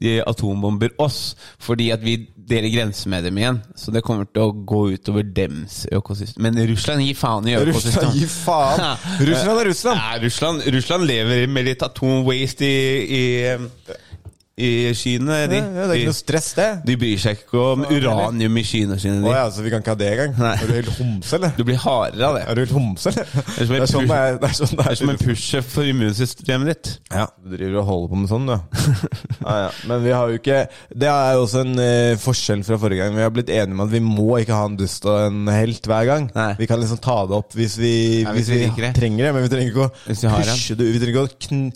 de atombomber oss, fordi at vi deler grenser med dem igjen. Så det kommer til å gå utover dems økosystem. Men Russland gir faen i økosystem.
Russland, gi
[laughs]
faen! Russland er Russland!
Nei, Russland, Russland lever med litt atomwaste i, i, i Kina. De,
Ja, ja, det er ikke noe
de,
stress, det.
de bryr seg ikke om uranium i Kina
Å
sine. De.
ja, så vi kan ikke ha det engang?
Nei.
Er du helt homse,
[laughs]
eller?
Du blir hardere av det.
Er du helt homse, eller? Det
er
sånn
som en pus-
det er. Det er, sånn det
Det
er,
er som en push-up for immunsystemet ditt.
Ja, du driver og holder på med sånn, du. [laughs] ja, ja. Men vi har jo ikke Det er jo også en eh, forskjell fra forrige gang. Vi har blitt enige om at vi må ikke ha en dust og en helt hver gang.
Nei.
Vi kan liksom ta det opp hvis vi,
Ja,
hvis
hvis vi
vi,
liker det.
trenger det, men vi trenger ikke å
Hvis vi har en.
pushe det ut. Vi trenger ikke å kn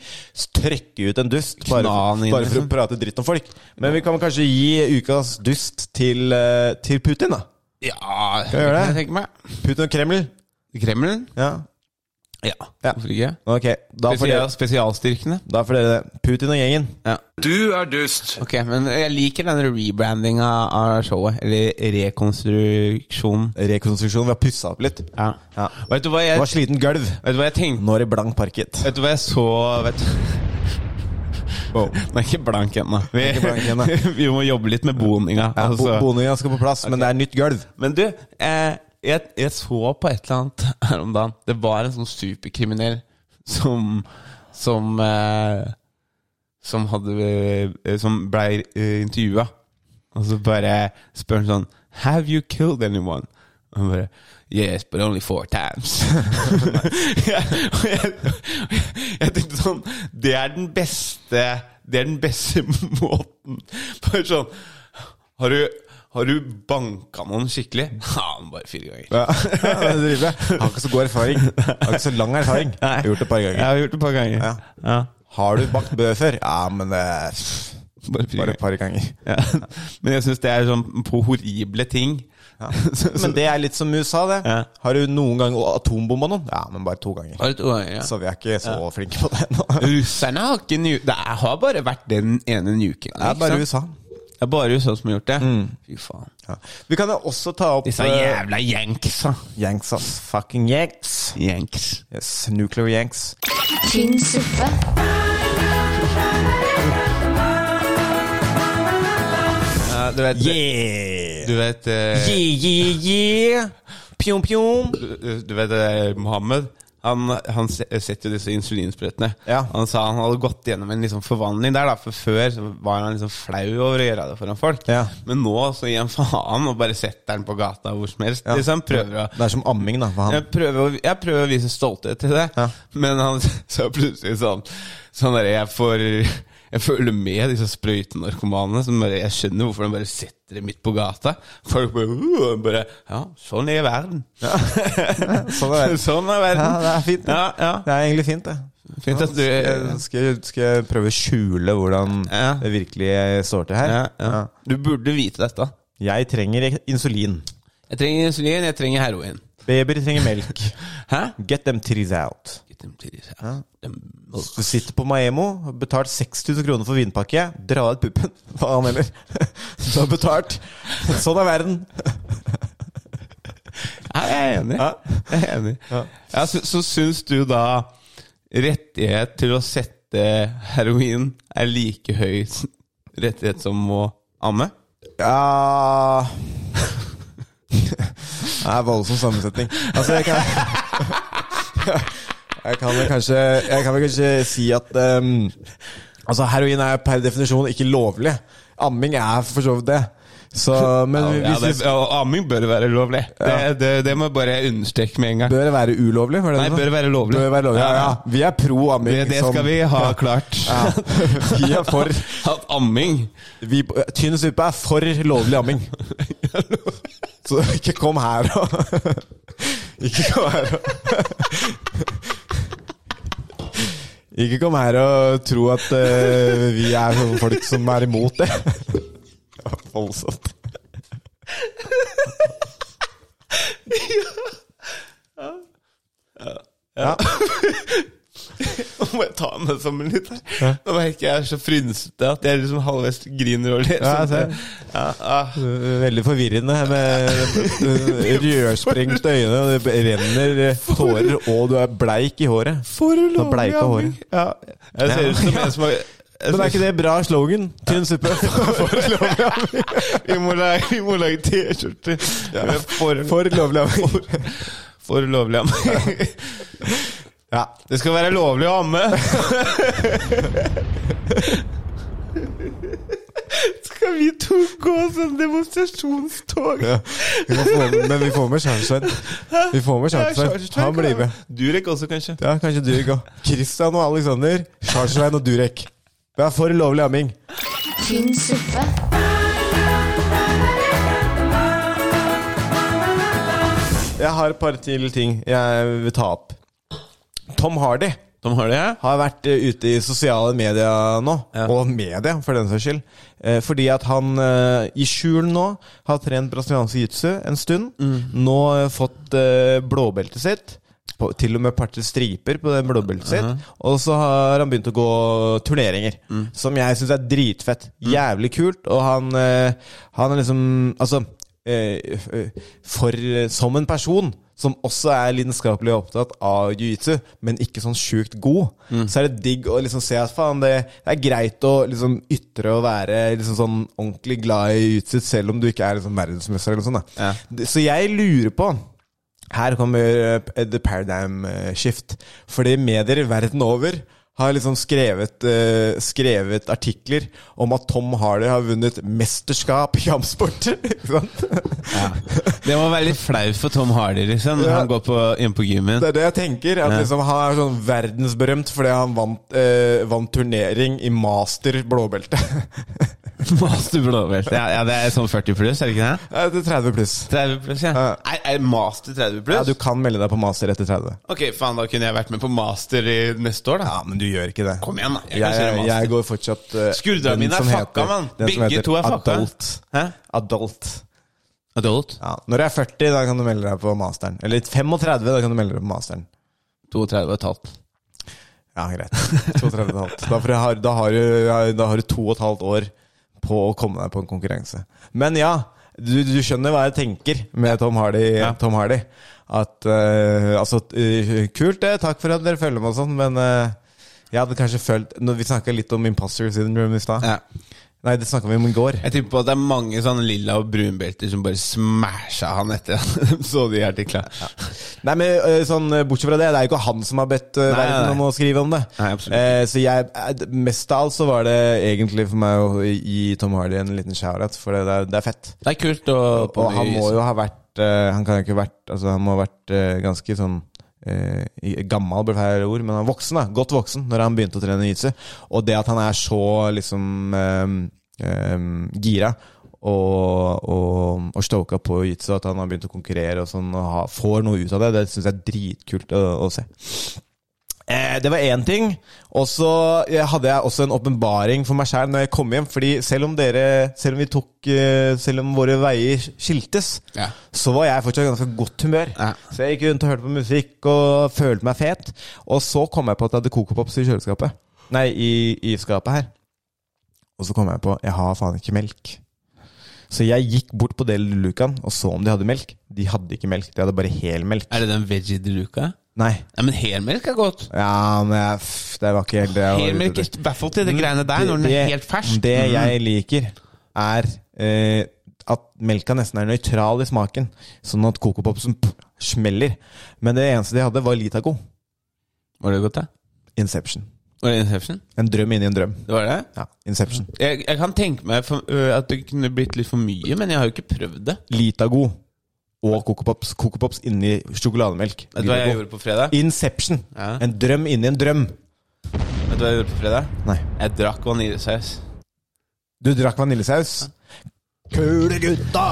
trykke ut en dust bare,
Kna den inn,
bare for
liksom.
å prate dritt om folk. Men vi kan kanskje gi ukas dust til, eh, til Putin, da.
Ja,
vi gjøre
det kan jeg
det?
tenke meg.
Putin og Kreml.
Kreml?
Ja.
Ja.
Ja.
Hvorfor ikke?
Ok, da får,
Spesial,
dere,
spesialstyrkene.
da får dere det. Putin og gjengen.
Ok, men eh, jeg liker den rebrandinga av showet. Eller rekonstruksjonen.
Rekonstruksjon. Vi har pussa opp litt.
Ja.
Ja.
Vet du hva jeg
Det var sliten gulv.
Vet du hva jeg tenkte?
Nå er det blank parket.
Vet du hva jeg så vet du? [laughs]
Wow.
Den er ikke blank ennå. Vi,
Den er ikke blank ennå.
[laughs] vi må jobbe litt med boninga.
Ja, bo
altså.
Boninga skal på plass, men det er nytt gulv.
Men du, eh, jeg, jeg så på et eller annet her om dagen. Det var en sånn superkriminell som Som eh, Som hadde eh, Som blei eh, intervjua. Og så bare spør han sånn Have you killed anyone? Og han bare Yes, but only four times. [laughs] jeg, og jeg, og jeg tenkte sånn Det er den beste Det er den beste [laughs] måten Bare sånn Har du, har du banka noen skikkelig? [laughs] Ja, men bare fire ganger.
Ja, [laughs] det driver jeg. Har ikke så god erfaring. Har ikke så lang erfaring. Jeg har gjort det et par
Jeg
ganger.
har gjort det et par ganger.
Ja.
Ja.
Har du bakt bø før? Ja, men eh, pff,
Bare fire
bare
ganger.
et par ganger.
Ja. [laughs] Men jeg syns det er sånn på horrible ting. [laughs] Så- så-
Men det er litt som USA, det.
Ja.
Har du noen gang atombomba noen? Ja, men bare to ganger.
Bare to ganger, ja.
Så vi er ikke så flinke på det ennå.
Russerne har ikke nu Det er- har bare vært den ene nukinga.
Det er bare Mm. USA.
Det er bare USA som har gjort det. Fy faen.
Ja. Vi kan jo også ta opp
Disse
eh,
jævla yanksa.
Yanks, ass. Fucking Yanks.
Yanks.
Yes, Nuclear Yanks.
tynn suppe,
du vet,
Yeah!
du vet eh,
Yeah, yeah, yeah! Pjom, pjom.
du, du vet eh, Mohammed han, han se- eh, setter jo disse insulinsprøytene.
Ja.
Han sa han hadde gått gjennom en liksom forvandling der, da, for før så var han liksom flau over å gjøre det foran folk.
Ja.
Men nå så gir han faen og bare setter den på gata hvor som helst.
Ja.
Liksom prøver å
Det er som amming, da. For han.
jeg prøver, å, jeg prøver å vise stolthet til det,
Ja.
men han [laughs] sa plutselig sånn Sånn der, jeg får Jeg følger med disse sprøytenarkomanene. Som bare, jeg skjønner hvorfor de bare setter det midt på gata. Folk bare, uh, bare Ja, sånn er verden.
Sånn er det.
[laughs] sånn er verden.
Ja, det er fint, det.
Ja, ja.
Det er egentlig fint, det.
Fint at du
Skal, skal, skal jeg prøve å skjule hvordan
Ja.
det virkelig står til her?
ja, ja. Du burde vite dette.
Jeg trenger insulin.
Jeg trenger insulin, jeg trenger heroin.
Babyer trenger melk.
Hæ?
Get them trees out. Du sitter på Maemo, har betalt 6000 kroner for vinpakke. Dra ut puppen. Faen heller. [laughs] Du har betalt. Sånn er verden.
Ja, jeg er enig. Jeg er enig. Ja, så, så syns du da rettighet til å sette heroin er like høy s- rettighet som å amme?
Ja Det er voldsom sammensetning. Altså, jeg kan Jeg kan vel kanskje, jeg kan vel kanskje si at ehm, Altså, heroin er per definisjon ikke lovlig. Amming er for så vidt det. Så, men
Ja, det,
hvis det
ja, og amming bør være lovlig.
Ja.
Det, det, det må jeg bare understreke med en gang.
bør være ulovlig? Var det
Nei,
det du sa?
bør være lovlig.
Bør være lovlig. Ja, ja. Vi er pro amming.
Det, det
som-
skal vi ha klart.
Ja. [laughs] Vi er for
[laughs] At amming
vi, Tynn suppe er for lovlig amming. Så ikke kom her og Ikke kom her og Ikke kom her og tro at eh, vi er sånne folk som er imot det. Det var Voldsomt. Ja.
Nå må jeg ta meg sammen litt her. Nå merker jeg jeg er så frynsete at jeg liksom halvveis griner og ler.
Ja, jeg
sånn.
ser.
ja, ah.
Veldig forvirrende med rødsprengte øyne, og det renner tårer, og du er bleik i håret.
For
Du er bleik av håret.
Ja. Jeg ser
Ja.
ut som en som har
Men er ikke det bra slogan? Tynn suppe. For lovlig amming.
Vi må lage, vi må lage T-skjorte med for,
For lovlig amming.
for lovlig amming.
Ja.
Det skal være lovlig å amme! skal vi to gå sånn demonstrasjonstog?
Ja. Vi må få med, men vi får med Kjærestein. Vi får med Kjærestein. Han blir med.
Durek også, kanskje.
Ja, kanskje Durek òg. Christian og Alexander, Kjærestein og Durek. Det er for lovlig amming.
tynn suppe,
Jeg har et par til ting jeg vil ta opp. Tom Hardy.
De har det?
har vært eh, ute i sosiale medier nå,
Ja.
og media for den saks skyld, eh, fordi at han eh, i skjul nå har trent brasiliansk jiu-jitsu en stund, nå eh, fått eh, blåbeltet sitt, på, til og med par til striper på den blåbeltet sitt, og så har han begynt å gå turneringer, som jeg synes er dritfett, jævlig kult, og han, eh, han er liksom, altså, eh, eh, for, som en person som også er lidenskapelig opptatt av jiu-jitsu, men ikke sånn sjukt god, så er det digg å liksom se at faen, det, det er greit å liksom ytre og være liksom sånn ordentlig glad i jiu-jitsu, selv om du ikke er liksom verdensmester eller noe sånt. Da. Så jeg lurer på her kommer eh, the paradigm eh, shift. Fordi medier verden over har liksom skrevet, eh, skrevet artikler om at Tom Hardy har vunnet mesterskap i kampsport. [laughs] Ikke sant?
Det må være litt flaut for Tom Hardy, liksom. Når
Ja.
han går på, inn på gymmen.
Det er det jeg tenker. At
Ja.
liksom, han er sånn verdensberømt fordi han vant, eh, vant turnering i master [laughs] blåbelte.
Master blåbelt. Ja, ja, det er sånn 40 pluss, er det ikke det?
Eh, Til 30 pluss.
30 pluss, ja.
Ja.
Er, er master 30 pluss?
Ja, du kan melde deg på master etter 30.
Ok, faen, da kunne jeg vært med på master i neste år, da.
Ja, men du gjør ikke det.
Kom igjen, da. Jeg
Jeg,
kan kjøre
jeg,
master.
går fortsatt eh,
Skuldra
den
mine er
som
fucka,
heter-
mann.
den som
Begge
heter
to er fucka.
Adult.
Hæ?
Adult.
Adult?
Ja. Når du er 40, da kan du melde deg på masteren. Eller 35, da kan du melde deg på masteren.
32 og et halvt.
Ja, greit. 32 og et halvt. Da, for jeg har, da, har du, da har du to og et halvt år på å komme deg på en konkurranse. Men ja, du, du skjønner hva jeg tenker med Tom Hardy. Tom Hardy. At eh, Altså, eh, kult det, takk for at dere følger med og sånn, men eh, jeg hadde kanskje følt Når Vi snakka litt om imposter syndrome i stad.
Ja.
Nei, det snakka vi om i går.
Jeg tipper på at det er mange sånne lilla og brunbelter som bare smasha han etter [laughs] han så de artiklene.
Nei, men eh, sånn, eh, Bortsett fra det, det er jo ikke han som har bedt eh,
Nei, nei,
verden om
nei.
å skrive om det.
Nei, absolutt
Eh, så jeg, eh, mest av alt så var det egentlig for meg å gi Tom Hardy en liten shout-out, for det, er- det er fett.
Det er kult å
Og han må jo ha vært eh, Han kan jo ikke ha vært Altså han må ha vært eh, ganske sånn eh, i- Gammel blir feil ord Men han er voksen da Godt voksen Når han begynte å trene jiu-jitsu Og det at han er så liksom eh, eh, Gira Og, og, og stoka på jiu-jitsu At han har begynt å konkurrere Og sånn Og ha, får noe ut av det Det synes jeg er dritkult å, å se Eh, det var én ting. Og så eh, hadde jeg også en åpenbaring for meg sjæl når jeg kom hjem. Fordi selv om dere Selv om vi tok eh, Selv om våre veier skiltes,
Ja.
så var jeg fortsatt i ganske godt humør.
Ja.
Så jeg gikk rundt og hørte på musikk og følte meg fet. Og så kom jeg på at jeg hadde Coco Pops i kjøleskapet. Nei, i, i skapet her. Og så kom jeg på Jeg har faen ikke melk. Så jeg gikk bort på Del Lucan og så om de hadde melk. De hadde ikke melk, de hadde bare helmelk.
Er det den veggie de luca?
Nei.
Nei, men helmelk er godt.
Ja, men jeg, pff, det var ikke helt det jeg var ute
Helmelk,
etter.
i hvert fall til de greiene der, når den
Mm, Det-
er helt fersk. Mm.
Det jeg liker, er eh, at melka nesten er nøytral i smaken. Sånn at Coco Popsen pff, smeller. Men det eneste de hadde, var Litaco.
Mm. Var det godt, da?
Inception.
Var det Inception?
En drøm inni en drøm.
Det var det?
Ja, Inception.
Jeg, jeg kan tenke meg for, ø, at det kunne blitt litt for mye, men jeg har jo ikke prøvd det.
Litago og Coco Pops. Coco Pops inni sjokolademelk.
Vet du hva jeg
Litago.
gjorde på fredag?
Inception.
Ja.
En drøm inni en drøm.
Vet du hva jeg gjorde på fredag?
Nei.
Jeg drakk vaniljesaus.
Du drakk vaniljesaus. Kule gutta,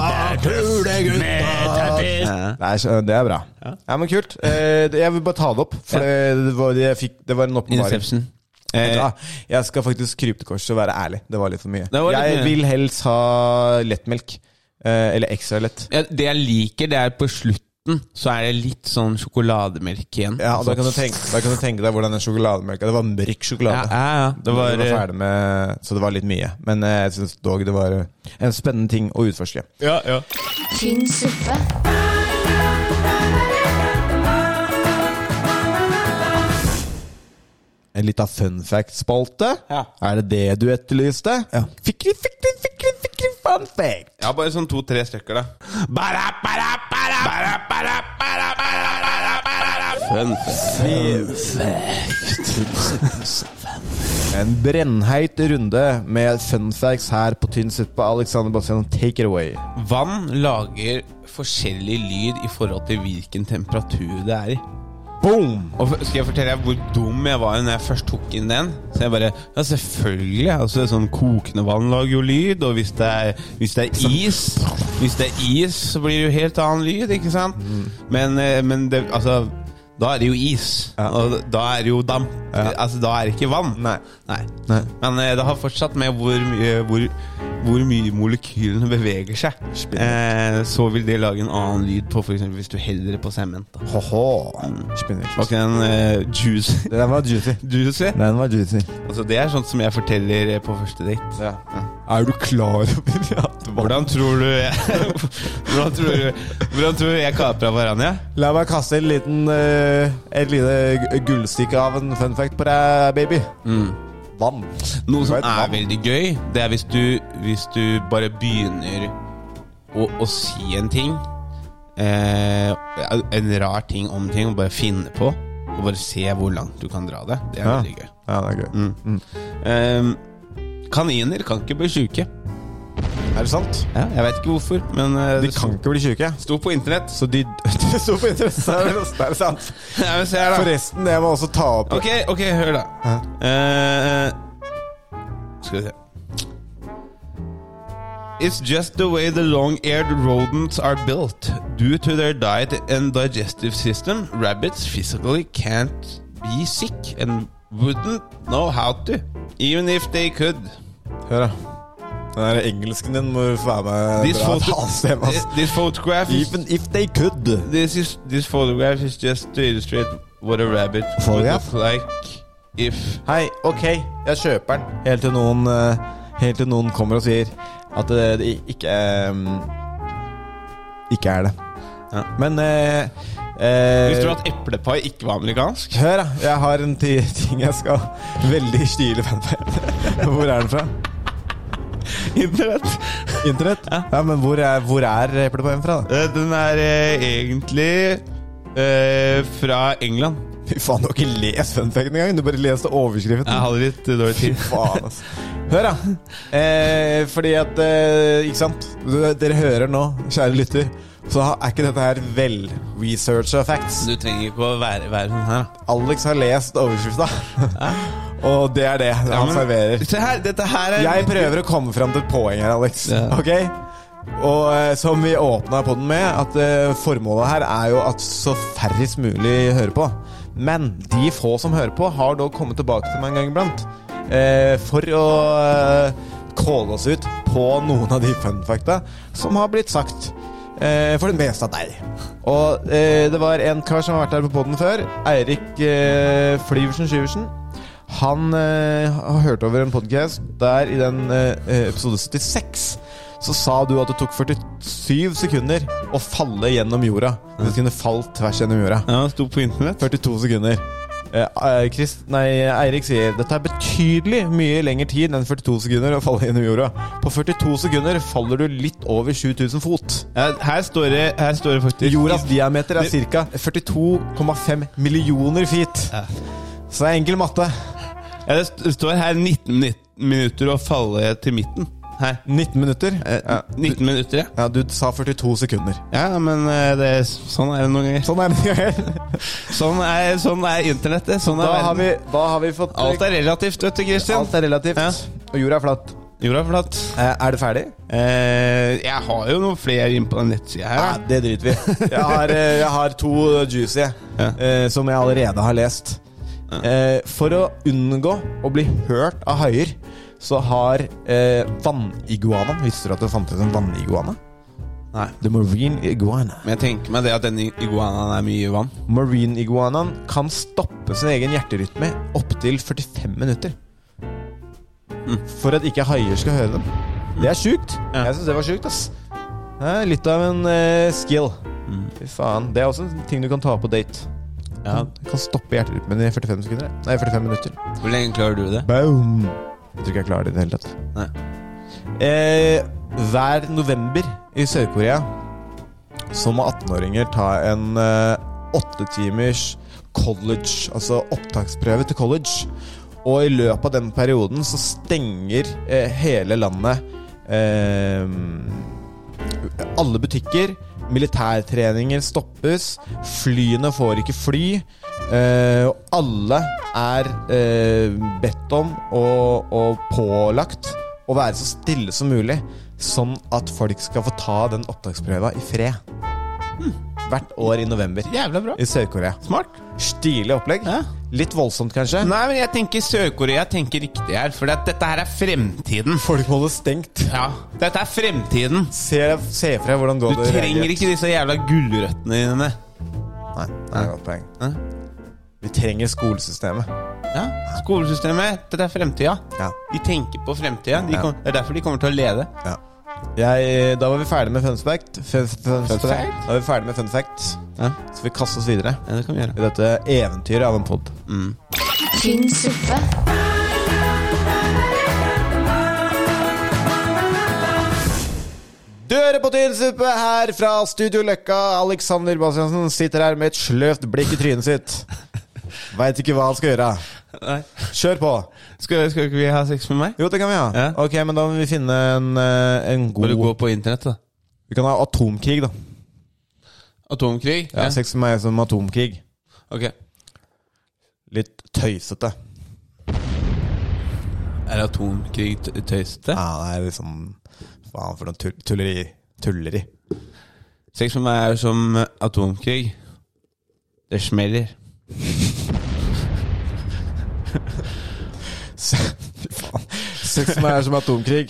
kule gutta.
Ja.
Nei, så det er bra. Ja, men kult. Eh, det- jeg vil bare ta det opp, for det, det, var, jeg fikk, det var en åpenbaring.
Inception.
Vet du
Eh,
hva? Jeg skal faktisk krype til korset og være ærlig. Det var litt for mye.
var litt
jeg
mye.
vil helst ha lettmelk. Eh, eller ekstra lett.
Ja, det jeg liker, det er på slutten så er det litt sånn sjokolademelk igjen.
Ja, og da
Sånn.
kan, du tenke, da kan du tenke deg hvordan den sjokolademelka Det var mørk
ja,
sjokolade.
ja, ja. Det
Vi
var, eh,
var ferdig med, så det var litt mye. Men eh, jeg syns dog det var en spennende ting å utforske.
ja, ja.
tynn suppe,
En liten fun fact-spalte.
Ja.
Er det det du etterlyste? Ja. Fikk vi, fikk vi, fikk vi, fikk vi fun fact!
Jeg har bare sånn to-tre stykker, da. Bara, bara, bara, bara, bara, bara, bara, bara, bara. Fun fact.
En brennheit runde med fun facts her på Tynn suppe. Alexander Bastian, take it away.
Vann lager forskjellig lyd i forhold til hvilken temperatur det er i.
Boom!
Og f- skal jeg fortelle deg hvor dum jeg var når jeg først tok inn den? Så jeg bare Ja, selvfølgelig. Altså, sånn kokende vann lager jo lyd, og hvis det er, hvis det er is
Mm.
Hvis det er is, så blir det jo helt annen lyd, ikke sant? Men, eh, men det Altså Da er det jo is.
Ja.
Og da er det jo damp.
Ja.
Altså, da er det ikke vann.
Nei.
Nei.
Nei.
Men eh, det har fortsatt med hvor mye, hvor, hvor mye molekylene beveger seg. Eh, så vil det lage en annen lyd på f.eks. hvis du heller det på sement. da.
Ho-ho.
Var ikke den eh, juicy?
Den var juicy.
juicy?
Den var juicy.
Altså, det er sånt som jeg forteller eh, på første date.
Er du klar over at
Hvordan tror du [laughs] Hvordan tror du, hvordan tror du jeg kapra Varanja?
La meg kaste en liten, eh, et lite gu- gullstykke av en fun fact på deg, baby. Mm. Vann.
Noe som
Du vet,
er
vann.
veldig gøy, det er hvis du, hvis du bare begynner å, å si en ting. Eh, en rar ting om ting, og bare finne på. Og bare se hvor langt du kan dra det. Det er
Ja.
veldig gøy.
Ja, det er gøy.
Eh, kaniner kan ikke bli sjuke.
Er det sant?
Ja, jeg veit ikke hvorfor, men eh,
De
det
kan ikke bli [laughs] syke.
sto på internett. [laughs]
Så de [laughs] Det sto på internett, så [laughs] er det- det er sant.
Ja, men se her, da.
Forresten, jeg må også ta opp
Ok, ok, hør da Eh, Skal vi se It's just the way the long-eared rodents are built. Due to their diet and digestive system, rabbits physically can't be sick and wouldn't know how to, even if they could.
Hør, da. Den der engelsken din må være med
This,
bra et
photo-
annet sted, ass.
this photograph is
Even if they could.
this is this photograph is just to illustrate what a rabbit would
Photograph?
look like if
Hei, ok, jeg kjøper den. Helt til noen, eh, helt til noen kommer og sier at det, det ikke eh, Ikke er det.
Ja.
Men eh, eh,
Visste du at eplepai ikke var amerikansk?
Hør, da. Jeg har en ti ting jeg skal Veldig stilig fanfare. [laughs] Hvor er den fra?
Internett.
Internett? Ja, men hvor er, hvor er eplepoen fra, da?
Eh, Den er eh, egentlig eh, fra England.
Fy faen, du har ikke lest funfacten engang! Du bare leste overskriften.
Jeg hadde litt eh, dårlig tid.
Faen, ass. Hør, da. Eh, fordi at eh, Ikke sant? Dere dere hører nå, kjære lytter, så ha- er ikke dette her vel-researcha facts.
Du trenger ikke å være, være sånn her. da.
Alex har lest overskrifta, og det er det han
men-
serverer.
Se her, dette her er
Jeg prøver å komme fram til et poeng her, Alex.
Ja.
Ok? Og eh, som vi åpna podden med, at eh, formålet her er jo at så færrest mulig hører på. Men de få som hører på, har dog kommet tilbake til meg en gang iblant. Eh, for å eh, calle oss ut på noen av de funfacta som har blitt sagt. Eh, for det meste av deg. Og eh, det var en kar som har vært her på podden før. Eirik eh, Flyversen Syversen. Han eh, har hørt over en podcast der i den eh, episode 76 så sa du at det tok 47 sekunder å falle gjennom jorda. Du kunne falt tvers gjennom jorda.
Ja, det sto på internett.
42 sekunder. Eh, eh, Chris, nei, Eirik sier dette er betydelig mye lengre tid enn 42 sekunder å falle gjennom jorda. På 42 sekunder faller du litt over 7000 fot.
Ja, her, står det, her står det faktisk
Jordas diameter er ca. 42,5 millioner feet.
Ja.
Så det er enkel matte.
ja, Det st- står her 19 nit- minutter å falle til midten. Her.
19 minutter.
Eh, 19 minutter, ja.
Ja, du sa 42 sekunder.
Ja, men eh, det, er- sånn er det noen ganger.
Sånn er det Mikael.
Sånn er, sånn er internettet. Sånn
Da
er
har
verden.
vi, da har vi fått
Alt er relativt, vet du, Kristin.
Alt er relativt.
Ja.
Og jorda er flatt.
Jorda er flatt.
Eh, er det ferdig?
Eh, jeg har jo noen flere inn på den nettsida her. da.
det driter vi
[laughs]
i. [laughs] Jeg, har, eh, jeg har to juicy
Ja.
eh, som jeg allerede har lest. Eh, for å unngå å bli hørt av haier, så har eh, vanniguanaen Visste du at det fantes en vanniguana?
Nei.
The marine iguana.
Men jeg tenker meg det at denne iguanaen er mye i vann.
Marine iguanaen kan stoppe sin egen hjerterytme opptil 45 minutter. For at ikke haier skal høre dem. Det er sjukt.
Ja.
Jeg syns det var sjukt, ass. Det er litt av en eh, skill. Fy faen. Det er også en ting du kan ta på date.
Ja.
Du kan stoppe hjerterytmen i 45 sekunder. Nei, 45 minutter.
Hvor lenge klarer du det?
Boom! Jeg tror ikke jeg klarer det i det hele tatt.
Nei.
Eh, hver november i Sør-Korea så må 18-åringer ta en eh, åtte timers college, altså opptaksprøve til college. Og i løpet av den perioden så stenger eh, hele landet eh, alle butikker. Militærtreninger stoppes. Flyene får ikke fly. eh, Og alle er eh, bedt om og, og pålagt å være så stille som mulig, sånn at folk skal få ta den opptaksprøva i fred. hvert år i november.
Jævla bra.
I Sør-Korea.
Smart.
Stilig opplegg.
Ja.
Litt voldsomt, kanskje.
Nei, men jeg tenker Sør-Korea tenker riktig her, for at dette her er fremtiden.
Folk må holde stengt.
Ja, dette er fremtiden.
Se, se for deg hvordan
Du
går det
trenger ikke disse jævla gulrøttene dine.
Nei, det er et godt poeng. Vi trenger skolesystemet.
Ja, Skolesystemet, dette er fremtida.
Ja.
De tenker på fremtida. De
Ja.
kom- Det er derfor de kommer til å lede.
Jeg, eh, da var vi ferdig med fun fact. Fun, fun,
Fun
fun
fact?
Da var vi ferdig med fun fact.
Ja.
Så vi kaster oss videre
Ja, det kan vi gjøre.
i dette eventyret av en pod.
tynn suppe,
Døre på tynn suppe her fra Studio Løkka. Alexander Bastiansen sitter her med et sløvt blikk i trynet
[laughs]
sitt. Veit ikke hva han skal gjøre.
Nei.
Kjør på!
Skal, skal ikke vi ha sex med meg?
Jo, det kan vi ha.
Ja.
Ok, Men da må vi finne en, eh, en
Bare
god
gå på internett, da.
Vi kan ha atomkrig, da.
Atomkrig?
Ja, Sex med meg som atomkrig.
Ok.
Litt tøysete.
Er atomkrig t- tøysete?
Ja, det er liksom Faen for noe tull tulleri. Tulleri.
Sex med meg er jo som atomkrig. Det smeller.
Se- Fy faen. Sex med meg er som atomkrig.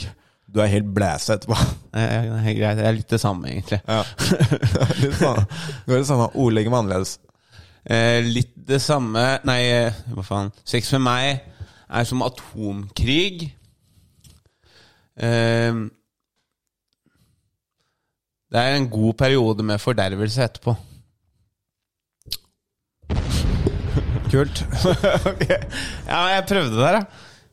Du er helt blæsa etterpå.
Nei, ja, det er greit. Det er litt det samme, egentlig.
Ja. [laughs] Litt sånn. Det er det samme. Ordlegger meg annerledes.
Eh, litt det samme Nei, eh, hva faen. Sex med meg er som atomkrig. Eh, det er en god periode med fordervelse etterpå.
Kult.
Ja, jeg prøvde det der, da.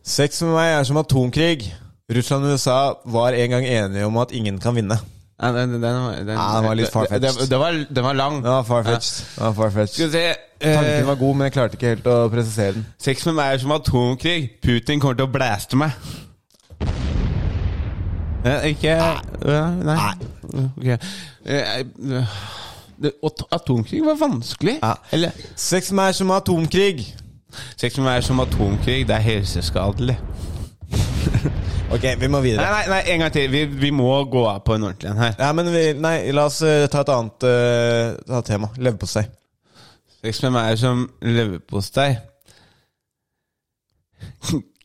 Sex med meg er som atomkrig. Russland og USA var en gang enige om at ingen kan vinne.
Nei, den, den, den, den,
Ja, den var litt farfetched.
Det, det, det var, den var lang.
Den var farfetched. Den var
Skal
farfetched.
vi se
Tanken
eh,
var god, men jeg klarte ikke helt å presisere den.
Sex med meg er som atomkrig. Putin kommer til å blæste meg. Eh, ikke eh, Nei. Ok. Eh, eh, det- at- Atomkrig var vanskelig.
Ja.
Eller
Sex med meg er som atomkrig.
Sex med meg er som atomkrig. Det er helseskadelig.
Ok, vi må
Nei,
videre.
nei, nei, en gang til. Vi, vi må gå av på en ordentlig en her.
Ja, men vi, nei, la oss eh, ta et annet eh, ta et tema. Leverpostei.
Sex med meg er som leverpostei.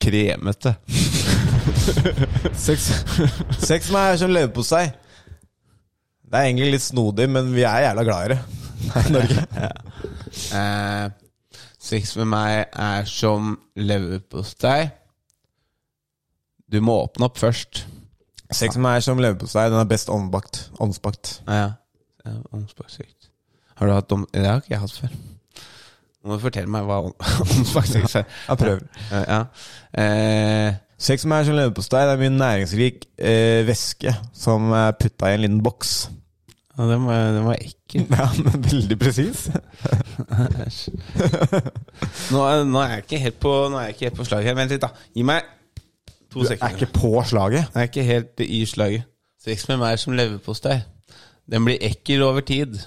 Kremete.
Sex, sex med meg er som leverpostei. Det er egentlig litt snodig, men vi er jævla glad i det her i Norge.
Eh, sex med meg er som leverpostei. Du må åpne opp først.
Sex med meg er som leverpostei. Den er best ovnbakt. Ovnsbakt.
Ja, ja. Eh, Omspakssykt. Har du hatt om... Det har ikke jeg hatt før. Nå må du fortelle meg hva om- [laughs] omspakssykt er.
Jeg prøver.
Eh, ja. Eh,
Sex med meg er som leverpostei. Det er mye næringsrik eh, væske som er putta i en liten boks.
ja, den, var, den var [laughs] ekkel.
Ja, men veldig
[laughs]
presis.
Æsj. Nå, er- nå er jeg ikke helt på, nå er jeg ikke helt på slaget. her. Vent litt, da. Gi meg to
Du er
sekunder.
ikke på slaget.
Jeg er ikke helt i slaget. Sex med meg er som leverpostei. Den blir ekkel over tid.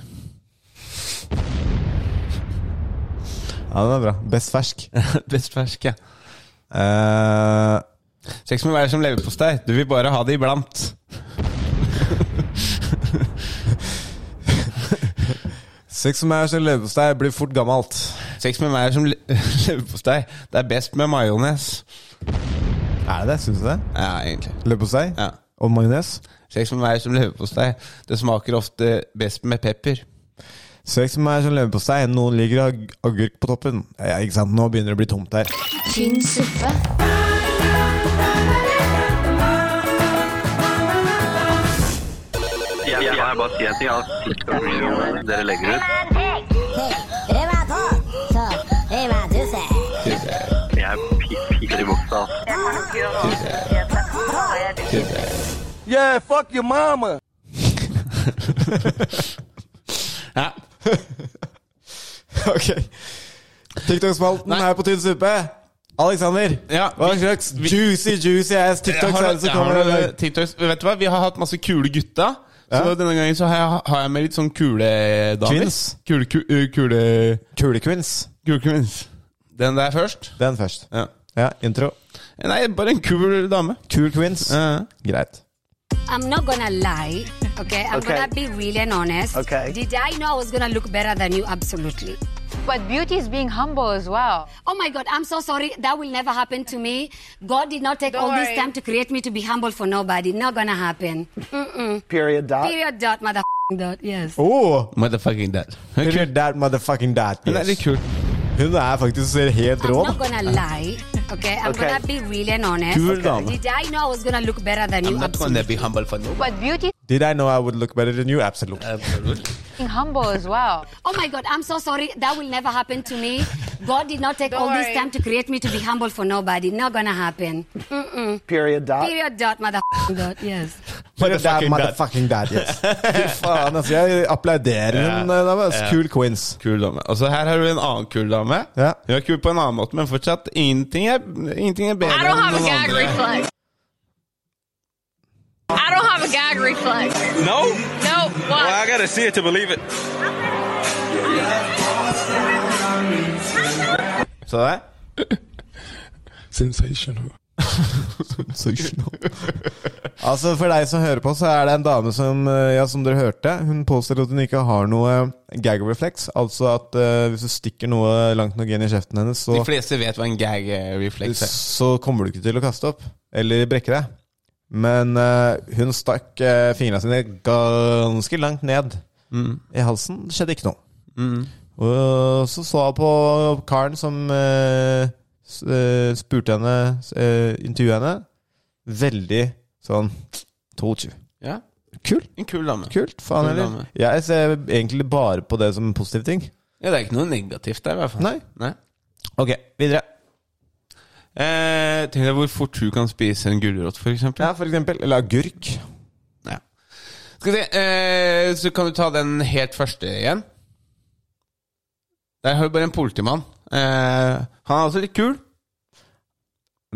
Ja, den er bra. Best fersk. [laughs]
Best fersk, ja.
Eh,
Sex med meg er som leverpostei. Du vil bare ha det iblant.
sex med meg er som leverpostei. Blir fort gammelt.
Sex med meg er som le [laughs] leverpostei. Det er best med majones.
Er det det? Syns du det?
Ja, egentlig.
Leverpostei
Ja.
og majones?
Sex med meg er som leverpostei. Det smaker ofte best med pepper.
Sex med meg er som leverpostei. Noen liker å ha agurk på toppen. Ja, ikke sant? Nå begynner det å bli tomt her.
tynn suppe,
Jeg, jeg, jeg bare si en ting. Altså, TikTok-videoene dere legger ut Jeg pi- piker i buksa. altså.
Ja.
ok. TikTok-spalten er på tynn suppe. Alexander,
Ja,
hva
vi-
slags juicy, juicy ass
Jeg
TikToks
har,
er det
jeg
som
har
kommer? i
noen
dag?
TikToks. Vet du hva, vi har hatt masse kule gutta. Så
Ja.
denne gangen så har jeg, har jeg med litt sånn kule damer.
Kvinns.
Kule, ku- uh, kule,
Kulequins.
kule kvinns. Den der først.
Den først.
Ja.
Ja, intro.
Nei, bare en kul dame.
Kulquins.
Ja.
Greit.
I'm not gonna lie. Okay, I'm
Okay.
gonna be really and honest.
Okay.
Did I know I was gonna look better than you? Absolutely. But beauty is being humble as well. Oh my God, I'm so sorry. That will never happen to me. God did not take
Don't
all
worry.
this time to create me to be humble for nobody. Not gonna happen. Mm-mm.
Period. Dot.
Period dot, mother dot, yes.
Oh,
Motherfucking dad.
Period that motherfucking that.
Hun er litt kul.
Hun er faktisk helt
I'm
rå.
not gonna lie. Okay, I'm
Okay.
gonna be really and honest.
Kul dame.
Did I know I was gonna look better than you?
be
Absolutely.
humble for no.
But beauty
Did I know I would look better than you? Absolutely.
being humble as well. Oh my God, I'm so sorry. That will never happen to me. God did not take all this time to create me to be humble for nobody. Not gonna happen. Mm-mm.
Period. Dot.
Period dot mother dot yes.
Period that
Motherfucking that.
motherfucking that, yes. [laughs] Fy faen, altså. Jeg applauderer
Ja.
hun. Det var
Ja.
Cool queens.
Kul dame. Og så her har du en annen kul dame.
Ja.
Hun er kul på en annen måte, men fortsatt ingenting er, ingenting er bedre
I don't
enn
have a
noen
gag
andre.
reflex. I don't have a gag reflex.
No?
No,
Well,
why?
I gotta see it to believe it.
Så der.
Sensational.
Altså For deg som hører på, så er det en dame som eh, ja, som dere hørte Hun påstår at hun ikke har noe gag reflex. Altså at eh, hvis du stikker noe langt nok inn i kjeften hennes, så,
De fleste vet hva en gag eh, reflex er.
så kommer du ikke til å kaste opp. Eller brekke deg. Men eh, hun stakk uh, fingrene sine ganske langt ned i halsen. Det skjedde ikke noe. Mm. Og så så jeg på karen som eh, s- eh, spurte henne, uh, intervjuet henne. Veldig sånn Told you.
Ja.
Kul.
En kul dame.
Kult, faen
Kul
heller.
dame.
Jeg ser egentlig bare på det som en positiv ting.
Ja, det er ikke noe negativt der, i hvert fall.
Nei. Ok, videre.
Eh, tenk deg hvor fort du kan spise en gulrot, for eksempel.
Ja, for eksempel. Eller agurk.
Ja. Skal vi se, eh, så kan du ta den helt første igjen. Der har du bare en politimann. Eh, han er også litt kul.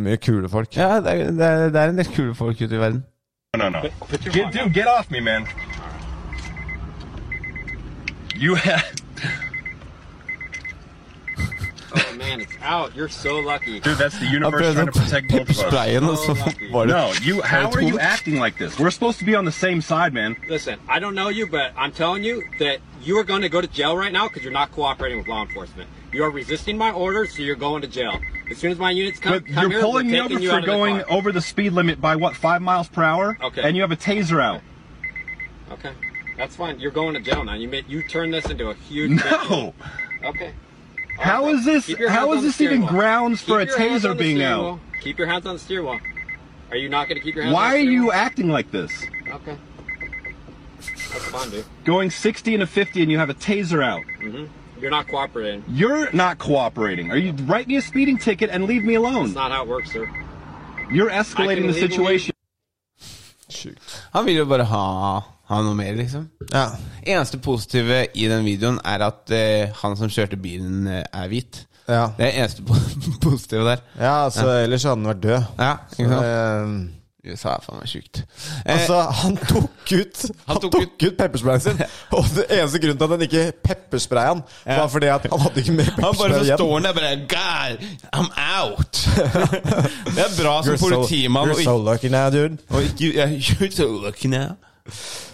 Mye kule folk.
Ja, det er, det er, det er en del kule folk ute i verden.
No, no, no. Get, dude, get off me, man. You have.
Oh man, it's out. You're so lucky.
Dude, that's the
Han
universe
prøvde
trying to
å
protect both of us. Oh,
pepperspraye den, og så var det
No, you. How are you acting like this? We're supposed to be on the same side, man.
Listen, I don't know you, but I'm telling you that you are going to go to jail right now because you're not cooperating with law enforcement. You are resisting my orders, so you're going to jail. As soon as my units come,
But
come
you're
here,
pulling
we're
me
taking
over
you
for
out of the
going
car.
over the speed limit by what five miles per hour?
Okay.
And you have a taser out.
Okay, that's fine. You're going to jail now. You made, you turned this into a huge.
No.
Okay.
How is this?
Keep your hands
How
on
is
the
this
steering
even
wheel.
grounds [laughs] for a
Keep your hands on
taser
the
being
steering
out?
wheel. Keep your hands on the steering wheel. Are you not going to keep your hands? on
Why
the
are
steering
you
wheel?
acting like this?
Okay. That's fine, dude.
Going 60 and a 50, and you have a taser out.
You're not cooperating.
You're not cooperating. Are you write me a speeding ticket and leave me
That's
alone?
not how it works, sir.
You're
I can
escalating the
legally-
situation.
Han vil jo bare ha, ha noe mer, liksom.
Ja.
Eneste positive i den videoen er at eh, han som kjørte bilen, eh, er hvit.
Ja,
Det er eneste po- [laughs] positive der.
ja altså, ellers hadde han vært død.
Ja,
Så,
ikke sant?
eh,
USA er faen meg sjukt. Eh,
Altså, han tok ut Han tok, ut peppersprayen
[laughs]
sin. Og det eneste grunnen til at han ikke pepperspraya han, var fordi at han hadde ikke mer
Han bare
pepperspray
så
igjen.
står han der bare God, I'm
[laughs]
out! det er bra som
You're so-
politimann.
You're so
og
lucky now, dude.
ikke- og ikke- yeah, You're so lucky now.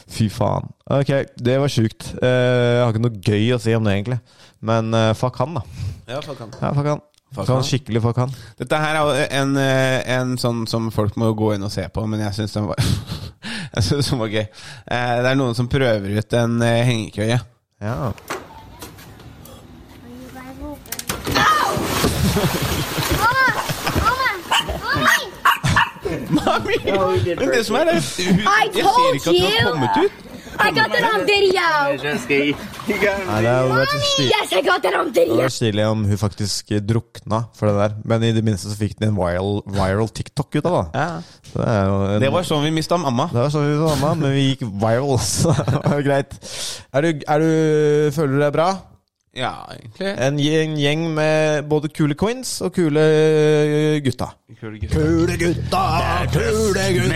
Fy faen. Ok, det var sjukt. Eh, jeg har ikke noe gøy å si om det, egentlig. Men eh, fuck han, da.
Ja, fuck han.
Ja, fuck han. Fuck han.
han.
Skikkelig fuck han.
Dette her er jo en, eh, en sånn som folk må gå inn og se på, men jeg syns den var [laughs] Jeg synes den var gøy. Eh, Det er noen som prøver ut en eh, hengekøye.
Ja.
Mami! Men det som er, er hun-
I
Jeg ser
told
ikke at hun har
you!
kommet ut.
I got that on
Nei,
video.
det hadde vært stilig.
Yes, I got that on
Det hadde
video.
vært stilig om hun faktisk eh, drukna for det der. Men i det minste så fikk den en viral, viral TikTok ut av det.
Ja.
Så Det, er jo en,
Det var sånn vi mista mamma.
det var sånn vi var mamma, men vi gikk viral, [laughs] så det var greit. Er du, er du Føler du deg bra?
Ja, egentlig.
En gjeng, gjeng med både kule queens og kule eh, gutta.
Kule gutter.
Kule gutta, kule gutta!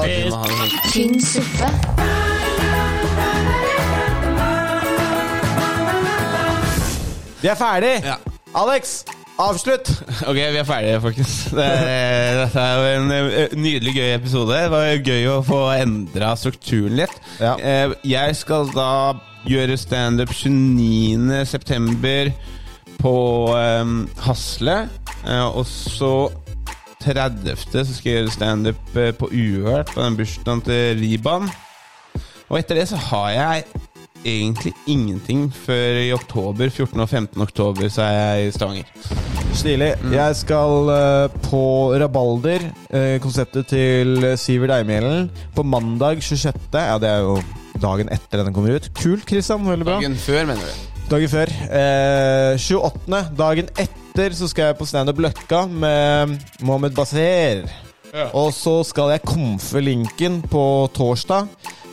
Vi må ha en sånn-
tynn suppe,
Vi er ferdig!
Ja.
Alex, Avslutt!
[laughs] Ok, vi er ferdige, folkens. Det er, dette er jo en eh, nydelig gøy episode. Det var jo gøy å få endra strukturen litt.
Ja.
Eh, Jeg skal da gjøre standup 29.9. på um, Hasle. Eh, Og så 30. så skal jeg gjøre standup eh, på Uhørt, på den bursdagen til Riban. Og etter det så har jeg egentlig ingenting før i oktober. 14. og 15. oktober så er jeg i Stavanger.
Stilig. Jeg skal eh, på Rabalder, eh, konseptet til Sivert Eimhjellen, på mandag 26. Ja, det er jo dagen etter den kommer ut. Kult, Kristian. Veldig bra.
Dagen før, mener du?
Dagen før. Eh, 28. Dagen etter så skal jeg på Standup Løkka med Mohammed Basir.
Ja.
Og så skal jeg komfe linken på torsdag.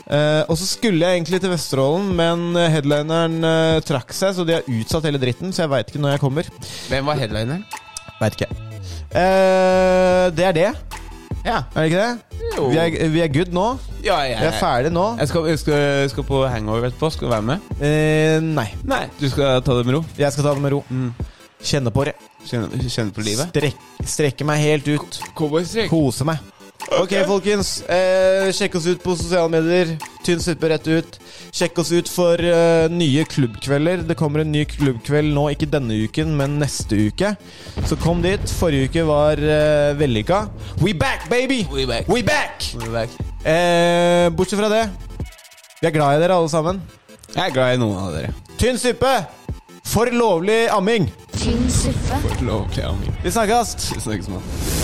Eh, og så skulle jeg egentlig til Vesterålen, men headlineren eh, trakk seg, så de har utsatt hele dritten, så jeg veit ikke når jeg kommer.
Hvem var headlineren?
Veit ikke. Eh, det er det,
Ja. Oh.
er det ikke det?
Jo.
Vi er, vi er good nå.
ja jeg,
Vi er ferdig nå.
Jeg skal, jeg skal, jeg skal på hangover etterpå. Skal du være med?
Eh, nei.
Nei. Du skal ta det med ro?
Jeg skal ta det med ro. Kjenne på det.
Kjenne, kjenne på Mm. livet?
Strek, strekke meg helt ut.
Cowboystrekk.
Kose meg. Ok, folkens. Eh, sjekk oss ut på sosiale medier. Tynn suppe rett ut. Sjekk oss ut for eh, nye klubbkvelder. Det kommer en ny klubbkveld nå, ikke denne uken, men neste uke. Så kom dit. Forrige uke var eh, vellykka. We back, baby!
We back.
We back! Eh, bortsett fra det, vi er glad i dere alle sammen.
Jeg er glad i noen av dere.
Tynn suppe! For lovlig amming!
tynn suppe.
Lovlig, Amir.
Vi snakkes!
Vi snakkes, mann.